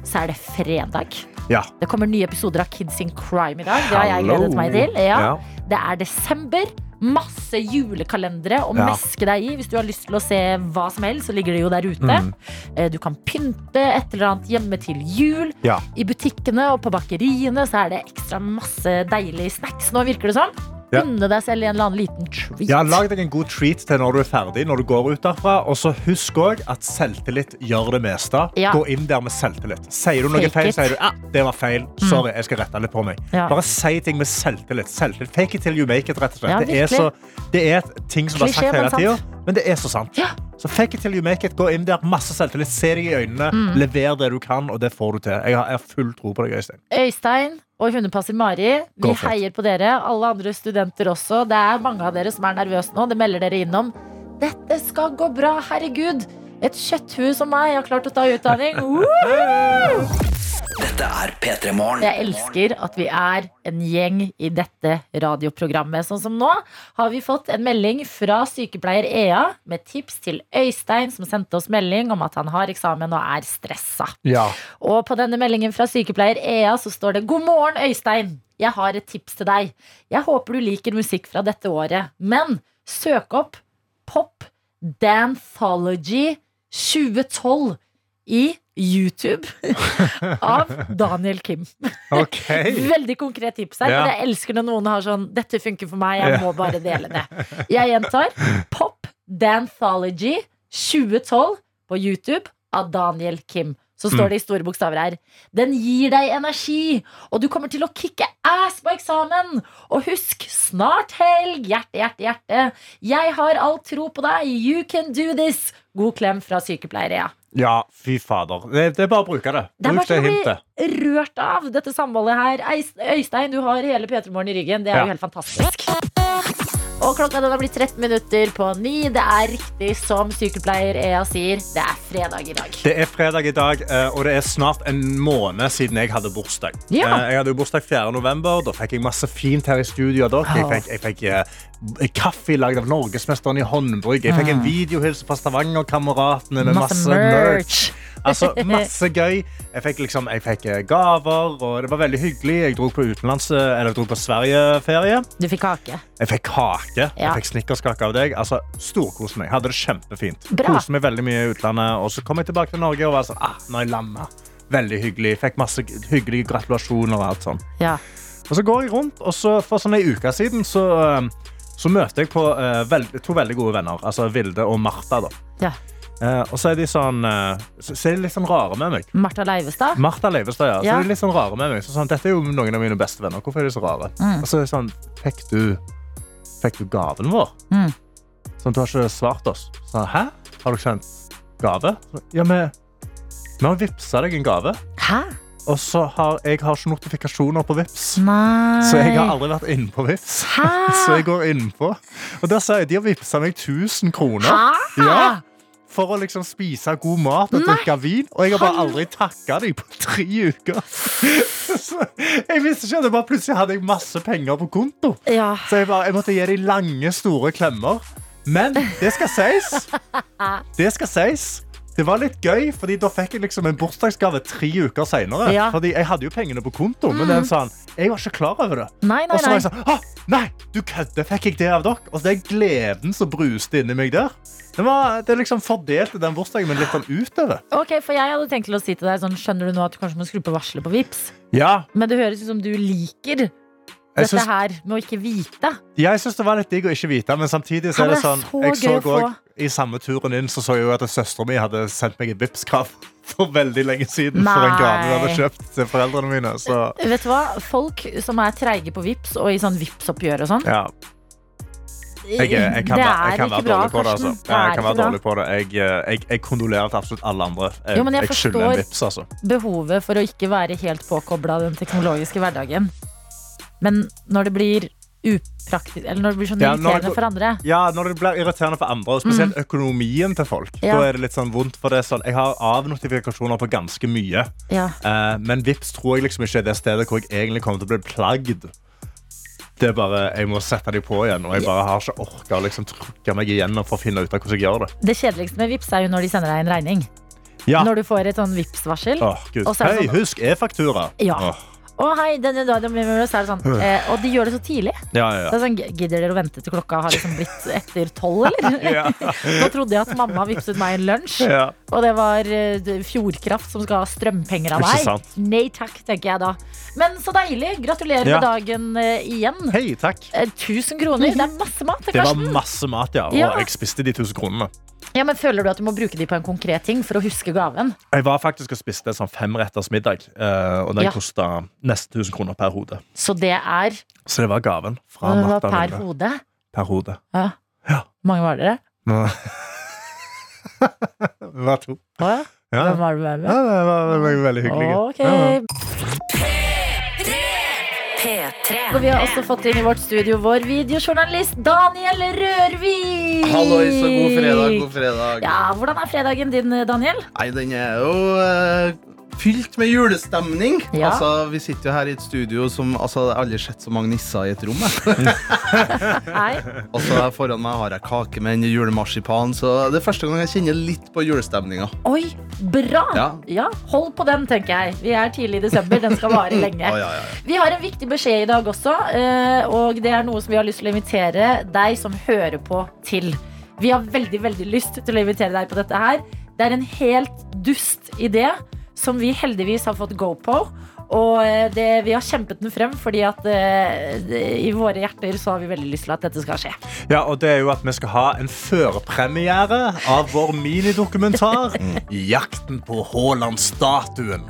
Speaker 2: så er det fredag.
Speaker 3: Ja.
Speaker 2: Det kommer nye episoder av Kids in Crime i dag. Det har jeg
Speaker 3: Hallo.
Speaker 2: gledet meg til. Ja.
Speaker 3: Ja.
Speaker 2: Det er desember. Masse julekalendere å
Speaker 3: Ja.
Speaker 2: meske deg i. Hvis du har lyst til å se hva som helst, så ligger det jo der ute.
Speaker 3: Mm.
Speaker 2: Eh, Du kan pynte et eller annet hjemme til jul.
Speaker 3: Ja.
Speaker 2: I butikkene og på bakeriene så er det ekstra masse deilige snacks. Nå virker det sånn.
Speaker 3: Ja.
Speaker 2: Unne deg selv i en eller annen liten treat.
Speaker 3: Ja, Lag deg en god treat til når du er ferdig. når du går ut derfra. Og så husk også at selvtillit gjør det meste.
Speaker 2: Ja.
Speaker 3: Gå inn der med selvtillit. Sier du noe
Speaker 2: Fake it.
Speaker 3: feil,
Speaker 2: Mm.
Speaker 3: sier du ah, det var feil. Sorry, jeg skal rette litt på meg.
Speaker 2: Ja.
Speaker 3: Bare si ting med selvtillit. selvtillit. Fake it till you make it. rett og
Speaker 2: Ja,
Speaker 3: slett. det, er
Speaker 2: virkelig.
Speaker 3: så, det er ting som blir
Speaker 2: Klisjé,
Speaker 3: sagt hele
Speaker 2: men sant.
Speaker 3: tida, men det er så sant.
Speaker 2: Ja.
Speaker 3: Så fake it till you make it. Gå inn der, masse selvtillit. Se deg i øynene,
Speaker 2: Mm.
Speaker 3: lever det du kan, og det får du til. Jeg har, jeg har full tro på deg, Øystein.
Speaker 2: Øystein og hundepasser Mari, vi
Speaker 3: Go for it.
Speaker 2: heier på dere. Alle andre studenter også. Det er mange av dere som er nervøse nå. Det melder dere inn om. Dette skal gå bra, herregud! Et kjøtthue som meg har klart å ta utdanning. Woo!
Speaker 4: Dette er P3 Morgen.
Speaker 2: Jeg elsker at vi er en gjeng i dette radioprogrammet. Sånn som nå har vi fått en melding fra sykepleier Ea med tips til Øystein, som sendte oss melding om at han har eksamen og er stressa. Og på denne meldingen fra sykepleier Ea så står det God morgen, Øystein. Jeg har et tips til deg. Jeg håper du liker musikk fra dette året, men søk opp Pop Danthology 2012 i YouTube av Daniel Kim. Veldig konkret tips her.
Speaker 3: Ja.
Speaker 2: Men jeg elsker når noen har sånn Dette funker for meg, jeg må bare dele det. Jeg gjentar. Pop Danthology 2012 på YouTube av Daniel Kim. Så står det i store bokstaver her. Den gir deg energi, og du kommer til å kicke ass på eksamen. Og husk, snart helg. Hjerte, hjerte, hjerte. Jeg har all tro på deg. You can do this. God klem fra sykepleier, ja.
Speaker 3: Ja, fy fader. Det, det er bare å bruke det.
Speaker 2: Det er
Speaker 3: Bruk
Speaker 2: bare sånn
Speaker 3: det
Speaker 2: å
Speaker 3: hintet.
Speaker 2: bli rørt av dette samholdet her. Eis- Øystein, du har hele P3morgen i ryggen. Det er
Speaker 3: Ja.
Speaker 2: jo helt fantastisk. Og klokka den har blitt 13 minutter på ni. Det er riktig som sykepleier Ea sier, det er fredag i dag.
Speaker 3: Det er fredag i dag, eh, og det er snart en måned siden jeg hadde bursdag.
Speaker 2: Ja.
Speaker 3: Eh, Jeg hadde jo bursdag 4. november. Da fikk jeg masse fint her i studio av dere. Jeg fikk, jeg fikk eh, b- kaffe lagd av Norgesmesteren i håndbrygg. Jeg fikk en videohilse fra Stavanger-kameratene med masse merch. Altså, masse gøy. Jeg fikk, liksom, jeg fikk eh, gaver, og det var veldig hyggelig. Jeg dro på utenlands, eh, eller jeg dro på Sverigeferie.
Speaker 2: Du fikk kake.
Speaker 3: Jeg fikk kake.
Speaker 2: Ja.
Speaker 3: Jeg fikk snickerskake av deg. Altså, Storkos meg. Hadde det kjempefint.
Speaker 2: Bra.
Speaker 3: Koste meg veldig mye i utlandet. Og så kom jeg tilbake til Norge og var sånn ah, Nå er jeg lamma. Veldig hyggelig. Fikk masse hyggelige gratulasjoner og alt sånn.
Speaker 2: Ja.
Speaker 3: Og så går jeg rundt, og så for sånn ei uke siden så, eh, så møter jeg på eh, vel- to veldig gode venner. Altså Vilde og Martha, da.
Speaker 2: ja.
Speaker 3: Eh, og så er de sånn eh, Så så er de litt sånn rare med meg.
Speaker 2: Martha Leivestad.
Speaker 3: Martha Leivestad, ja. Så
Speaker 2: Ja.
Speaker 3: er de litt sånn rare med meg. Så sånn, Dette er jo noen av mine beste venner. Hvorfor er de så rare?
Speaker 2: Mm.
Speaker 3: Og så er det sånn Fikk du, fikk du gaven vår?
Speaker 2: Mm.
Speaker 3: Sånn, du har ikke svart oss. Sånn, Hæ? Har du sendt gave? Så, Ja, vi vi har vippsa deg en gave.
Speaker 2: Hæ?
Speaker 3: Og så har jeg har ikke notifikasjoner på Vips.
Speaker 2: Nei.
Speaker 3: Så jeg har aldri vært inne på Vips.
Speaker 2: Hæ?
Speaker 3: *laughs* Så jeg går innpå. Og der sier jeg, de har vippsa meg 1000 kroner.
Speaker 2: Hæ?
Speaker 3: Ja, for å liksom spise god mat og drikke vin. Og jeg har bare aldri takka dem på tre uker. *laughs* Så jeg visste ikke at det bare plutselig hadde jeg masse penger på konto.
Speaker 2: Ja.
Speaker 3: Så jeg, bare, jeg måtte gi dem lange, store klemmer. Men det skal sies. Det skal sies. Det var litt gøy, fordi da fikk jeg liksom en bursdagsgave tre uker seinere.
Speaker 2: Ja.
Speaker 3: Fordi jeg hadde jo pengene på konto, men den sa han, jeg var ikke klar over det.
Speaker 2: Nei, nei,
Speaker 3: Og så var jeg
Speaker 2: nei.
Speaker 3: sånn «Hå, Nei, du kødder! Fikk jeg det av dere? Og den gleden som bruste inni meg der, det, var, det liksom fordelte den bursdagen min litt sånn utover.
Speaker 2: Ok, for jeg hadde tenkt til å si til deg sånn, Skjønner du nå at du kanskje må skru på varselet på Vips?
Speaker 3: Ja,
Speaker 2: Men det høres ut som du liker
Speaker 3: jeg
Speaker 2: dette
Speaker 3: syns,
Speaker 2: her med å ikke vite.
Speaker 3: jeg syns det var litt digg å ikke vite, men samtidig så
Speaker 2: Ja,
Speaker 3: er det
Speaker 2: men
Speaker 3: sånn
Speaker 2: det er
Speaker 3: jeg
Speaker 2: så
Speaker 3: så
Speaker 2: gøy å få.
Speaker 3: også, I samme turen inn så så jeg jo at søstera mi hadde sendt meg et Vipps-krav for veldig lenge siden for en gave hun hadde
Speaker 2: Nei.
Speaker 3: kjøpt til foreldrene mine. Så
Speaker 2: Vet du hva? Folk som er treige på Vips og i sånn Vips-oppgjør og sånn,
Speaker 3: ja. Jeg, er- jeg kan,
Speaker 2: det
Speaker 3: være- jeg
Speaker 2: er
Speaker 3: kan
Speaker 2: ikke
Speaker 3: være
Speaker 2: bra,
Speaker 3: dårlig på det. Altså.
Speaker 2: Karsten. Det
Speaker 3: Ja,
Speaker 2: er
Speaker 3: Jeg, kan
Speaker 2: ikke
Speaker 3: være
Speaker 2: bra.
Speaker 3: dårlig på det. Jeg, eh, jeg, jeg kondolerer til absolutt alle andre.
Speaker 2: Jo, men jeg
Speaker 3: jeg skylder
Speaker 2: forstår-
Speaker 3: en Vipps, altså.
Speaker 2: behovet for å ikke være helt påkobla den teknologiske hverdagen. Men når det blir upraktisk Eller når det blir sånn
Speaker 3: Ja, når det
Speaker 2: irriterende
Speaker 3: går-
Speaker 2: for andre.
Speaker 3: Ja, når det blir irriterende for andre, og spesielt økonomien til folk,
Speaker 2: Mm. Ja.
Speaker 3: da er det litt sånn vondt. For det er sånn, jeg har avnotifikasjoner på ganske mye,
Speaker 2: Ja.
Speaker 3: eh, men Vips tror jeg liksom ikke er det stedet hvor jeg egentlig kommer til å bli plagd. Det er bare, Jeg må sette dem på igjen, og jeg bare har ikke orka å liksom trykke meg igjennom for å finne ut av hvordan jeg gjør det.
Speaker 2: Det kjedeligste med Vips er jo når de sender deg en regning.
Speaker 3: Ja.
Speaker 2: Når du får et sånn Vips-varsel.
Speaker 3: Åh, Gud.
Speaker 2: Og så er det
Speaker 3: Hei,
Speaker 2: sånn-
Speaker 3: husk e-faktura!
Speaker 2: Ja.
Speaker 3: Åh,
Speaker 2: Å, hei, denne dagen, så er det sånn. Eh, og de gjør det så tidlig.
Speaker 3: ja,
Speaker 2: Det
Speaker 3: ja,
Speaker 2: er sånn, Gidder dere å vente til klokka har liksom blitt etter tolv, eller?
Speaker 3: *laughs*
Speaker 2: *laughs*
Speaker 3: ja.
Speaker 2: Nå trodde jeg at mamma vipset meg en lunsj,
Speaker 3: ja.
Speaker 2: og det var eh, Fjordkraft som skal ha strømpenger av
Speaker 3: Ikke
Speaker 2: meg.
Speaker 3: sant.
Speaker 2: Nei takk, tenker jeg da. Men så deilig. Gratulerer
Speaker 3: Ja.
Speaker 2: med dagen eh, igjen.
Speaker 3: Hei, takk.
Speaker 2: Eh, 1000 kroner, det er masse mat.
Speaker 3: Det var
Speaker 2: Karsten.
Speaker 3: masse mat, ja.
Speaker 2: Ja.
Speaker 3: Og jeg spiste de 1000 kronene.
Speaker 2: Ja, men Føler du at du må bruke de på en konkret ting for å huske gaven?
Speaker 3: Jeg var faktisk og spiste en sånn femretters middag, eh, og den
Speaker 2: Ja.
Speaker 3: kosta nesten 1000 kroner per hode.
Speaker 2: Så det er
Speaker 3: Så det var gaven fra
Speaker 2: det var
Speaker 3: Martha
Speaker 2: per
Speaker 3: Lunde.
Speaker 2: hode.
Speaker 3: Per hode.
Speaker 2: Ja.
Speaker 3: Ja.
Speaker 2: Mange var dere?
Speaker 3: *laughs* Vi var to.
Speaker 2: Å, ja.
Speaker 3: Ja.
Speaker 2: Hvem var du med?
Speaker 3: Ja, det var det var veldig hyggelig.
Speaker 2: Ok.
Speaker 3: Ja, ja.
Speaker 1: P3.
Speaker 2: Og vi har også fått inn i vårt studio vår videojournalist Daniel Rørvik.
Speaker 11: Hallois og god fredag, god fredag.
Speaker 2: Ja, Hvordan er fredagen din, Daniel?
Speaker 11: Nei, den er jo eh, fylt med julestemning.
Speaker 2: Ja.
Speaker 11: Altså, Vi sitter jo her i et studio som altså, Jeg har aldri sett så mange nisser i et rom. jeg.
Speaker 2: Nei?
Speaker 11: altså, her Foran meg har jeg kake med en julemarsipan, så det er første gang jeg kjenner litt på julestemninga.
Speaker 2: Oi, bra! Ja.
Speaker 11: Ja.
Speaker 2: Hold på den, tenker jeg. Vi er tidlig i desember. Den skal vare lenge.
Speaker 11: Å, ja, ja, ja.
Speaker 2: Vi har en viktig beskjed i dag også, eh, og det er noe som vi har lyst til å invitere deg som hører på, til. Vi har veldig veldig lyst til å invitere deg på dette her. Det er en helt dust idé som vi heldigvis har fått go på. Og eh, det, vi har kjempet den frem, fordi at eh, det- i våre hjerter så har vi veldig lyst til at dette skal skje.
Speaker 3: Ja, og det er jo at vi skal ha en førpremiere av vår
Speaker 2: *laughs*
Speaker 3: minidokumentar
Speaker 2: Mm.
Speaker 3: Jakten på Haaland-statuen.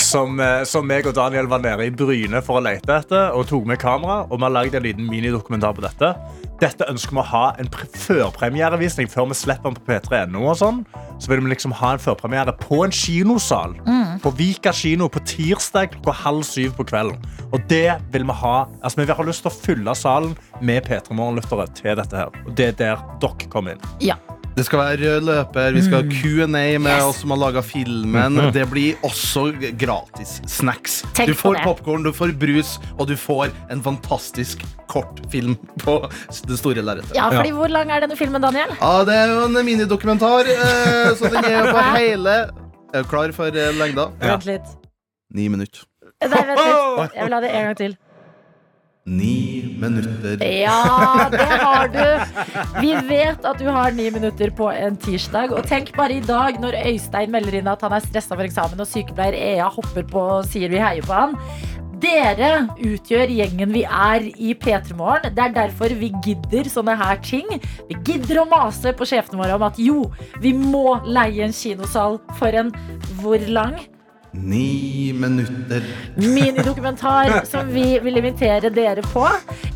Speaker 3: Som, eh, som meg og Daniel var nede i Bryne for å lete etter, og tok med kamera. Og vi har lagd en liten minidokumentar på dette. Dette ønsker vi å ha en pre- førpremierevisning før vi slipper den på p3.no. og sånn. Så vil vi liksom ha en førpremiere på en kinosal.
Speaker 2: Mm.
Speaker 3: På Vika kino på tirsdag klokka halv syv på kvelden. Og det vil vi ha. Altså, vi har lyst til å fylle salen med P3 Morgen-lyttere til dette her. Og det er der dere kommer inn.
Speaker 2: Ja. Mm.
Speaker 11: Det skal være rød løper, vi skal ha Q&A med oss som har laga filmen.
Speaker 2: Mhm.
Speaker 11: Det blir også gratis snacks.
Speaker 2: Tenk
Speaker 11: du
Speaker 2: på
Speaker 11: får
Speaker 2: det.
Speaker 11: popkorn, du får brus, og du får en fantastisk kort film på det store lerretet.
Speaker 2: ja, fordi Hvor lang er denne filmen, Daniel?
Speaker 11: Ja, det er jo en minidokumentar, eh, så den er jo på hele Er du klar for eh, lengda?
Speaker 2: Vent litt.
Speaker 11: Ni minutter.
Speaker 2: Nei, vent litt. Jeg vil ha det en gang til.
Speaker 11: Ni minutter.
Speaker 2: Ja, det har du. Vi vet at du har ni minutter på en tirsdag. Og tenk bare i dag, når Øystein melder inn at han er stressa for eksamen, og sykepleier Ea hopper på og sier vi heier på han. Dere utgjør gjengen vi er i P3 Morgen. Det er derfor vi gidder sånne her ting. Vi gidder å mase på sjefene våre om at jo, vi må leie en kinosal for en hvor lang?
Speaker 11: Ni minutter.
Speaker 2: minidokumentar *laughs* som vi vil invitere dere på.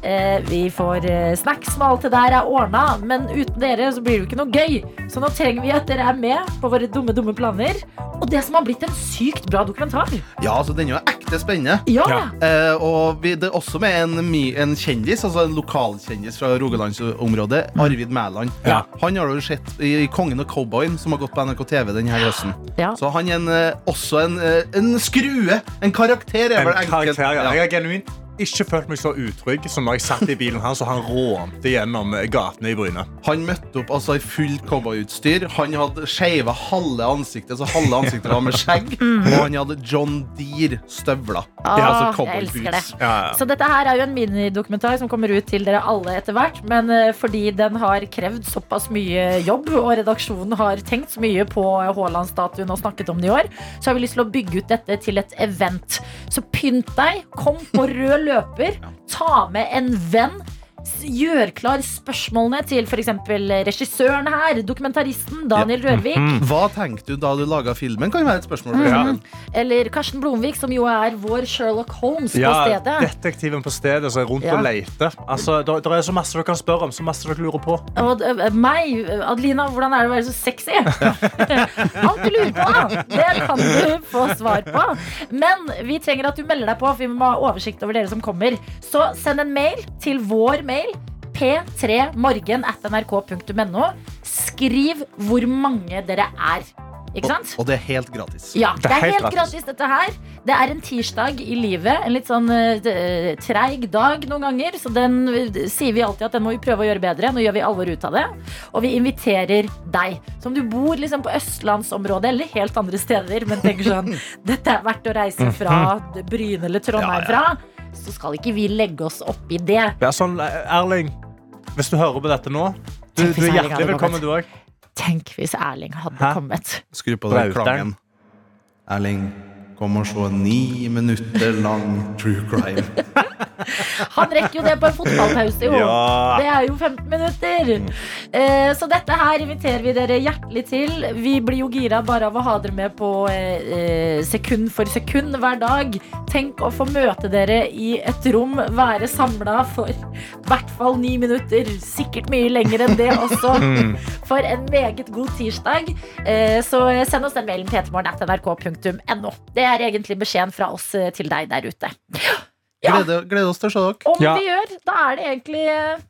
Speaker 2: Eh, vi får eh, snacks med alt det der er ordna, men uten dere så blir det jo ikke noe gøy. Så nå trenger vi at dere er med på våre dumme, dumme planer. Og det som har blitt en sykt bra dokumentar.
Speaker 11: Ja, altså den er jo ekte spennende.
Speaker 2: Ja.
Speaker 11: Eh, og vi, det er også med en, mi- en kjendis, altså en lokalkjendis fra Rogalandsområdet,
Speaker 3: Mm.
Speaker 11: Arvid Mæland. Han har du jo sett i Kongen og cowboyen, som har gått på NRK TV denne høsten. Så han er en, eh, også en, eh, en skrue. En karakter, er
Speaker 3: En
Speaker 11: vel enkelt.
Speaker 3: karakter, ja.
Speaker 11: Ja.
Speaker 3: Jeg har genuint ikke følt meg så utrygg som når jeg satt i bilen hans og han rånte gjennom gatene i Bryne.
Speaker 11: Han møtte opp altså, i fullt cowboyutstyr. Han hadde skeiva halve ansiktet, så halve ansiktet var med
Speaker 3: *laughs*
Speaker 11: skjegg.
Speaker 3: Mhm.
Speaker 11: Og han hadde John Deere-støvler. Det er altså
Speaker 2: Ah, jeg elsker det.
Speaker 11: cowboyboots.
Speaker 2: Så dette her er jo en minidokumentar som kommer ut til dere alle etter hvert. Men eh, fordi den har krevd såpass mye jobb, og redaksjonen har tenkt så mye på eh, Haaland-statuen og snakket om det i år, så har vi lyst til å bygge ut dette til et event. Så pynt deg, kom på rød løper, ta med en venn. s- Gjør klar spørsmålene til f.eks. regissøren her, dokumentaristen Daniel Rørvik.
Speaker 11: Hva tenkte du da du laga filmen? Kan være et spørsmål. for
Speaker 3: Ja.
Speaker 11: eksempel.
Speaker 2: Eller Karsten Blomvik, som jo er vår Sherlock Holmes på
Speaker 3: Ja,
Speaker 2: stedet.
Speaker 3: detektiven på stedet som er rundt
Speaker 2: Ja.
Speaker 3: og leter. Altså, det, det er så masse dere kan spørre om, så masse dere lurer på.
Speaker 2: Og eh, meg, Adelina, hvordan er det å være så sexy? *laughs* Alt du lurer på, det kan du få svar på. Men vi trenger at du melder deg på, for vi må ha oversikt over dere som kommer. Så send en mail til vår mail. P3morgen at nrk.no. Skriv hvor mange dere er. Ikke sant?
Speaker 11: Og, og det er helt gratis.
Speaker 2: Ja, det er helt gratis dette her. Det er en tirsdag i livet. En litt sånn eh, d- eh, treig dag noen ganger. Så den eh, sier vi alltid at den må vi prøve å gjøre bedre. Nå gjør vi alvor ut av det. Og vi inviterer deg. Så om du bor liksom på østlandsområdet eller helt andre steder, men tenker *laughs* sånn Dette er verdt å reise fra Bryne eller Trondheim fra. Så skal ikke vi legge oss opp i det.
Speaker 3: Det er sånn, Erling, hvis du hører på dette nå, du,
Speaker 2: Tenk
Speaker 3: du
Speaker 2: hvis
Speaker 3: er
Speaker 2: Erling hadde
Speaker 3: hjertelig velkommen,
Speaker 2: kommet.
Speaker 3: du òg.
Speaker 2: Tenk hvis Erling hadde kommet.
Speaker 11: Skru på den
Speaker 3: Brauteren.
Speaker 11: klangen. Erling, kom og se en ni minutter lang true *laughs* crime.
Speaker 2: Han rekker jo det på en fotballpause, jo.
Speaker 3: Ah.
Speaker 11: Ja.
Speaker 2: Det er jo 15 minutter. Eh, så dette her inviterer vi dere hjertelig til. Vi blir jo gira bare av å ha dere med på eh, eh, sekund for sekund hver dag. Tenk å få møte dere i et rom, være samla for i hvert fall ni minutter. Sikkert mye lenger enn det også.
Speaker 12: Mm.
Speaker 2: For en meget god tirsdag. Eh, så send oss den mailen ptmorgen.nrk.no. Det er egentlig beskjeden fra oss eh, til deg der ute.
Speaker 11: Gleder, gleder oss til å se dere.
Speaker 2: Om vi gjør, da er det egentlig eh,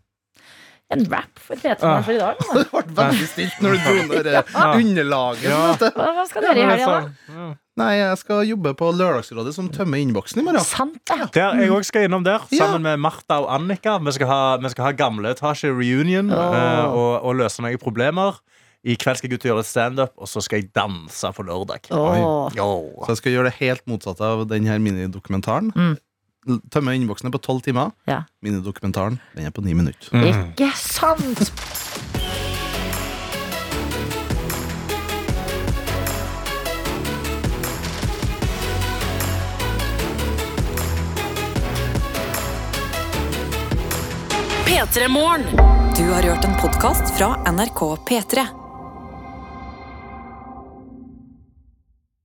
Speaker 2: en rap for
Speaker 11: Ah.
Speaker 2: PT-morgen for i dag. da.
Speaker 11: Det ble veldig stilt når du dro ned eh,
Speaker 2: Ja.
Speaker 11: underlaget.
Speaker 2: Ja.
Speaker 11: vet du.
Speaker 2: Hva- hva skal dere
Speaker 3: Sånn.
Speaker 2: i helga,
Speaker 11: altså-
Speaker 2: da?
Speaker 3: Mm.
Speaker 11: Nei, Jeg skal jobbe på Lørdagsrådet som tømmer innboksen i morgen.
Speaker 3: Der, jeg også skal innom der, sammen med Martha og Annika. Vi skal ha, vi skal ha gamle etasje reunion eh, og, og løse noen problemer. I kveld skal jeg ut og gjøre litt standup, og så skal jeg danse på lørdag.
Speaker 11: Oi.
Speaker 3: Jo.
Speaker 11: Så jeg skal gjøre det helt motsatte av den her minidokumentaren. L- Tømme innboksen er på tolv timer. Minidokumentaren den er på ni minutter.
Speaker 2: Ikke sant!
Speaker 1: P3 Morgen. Du har hørt en podkast fra NRK P3.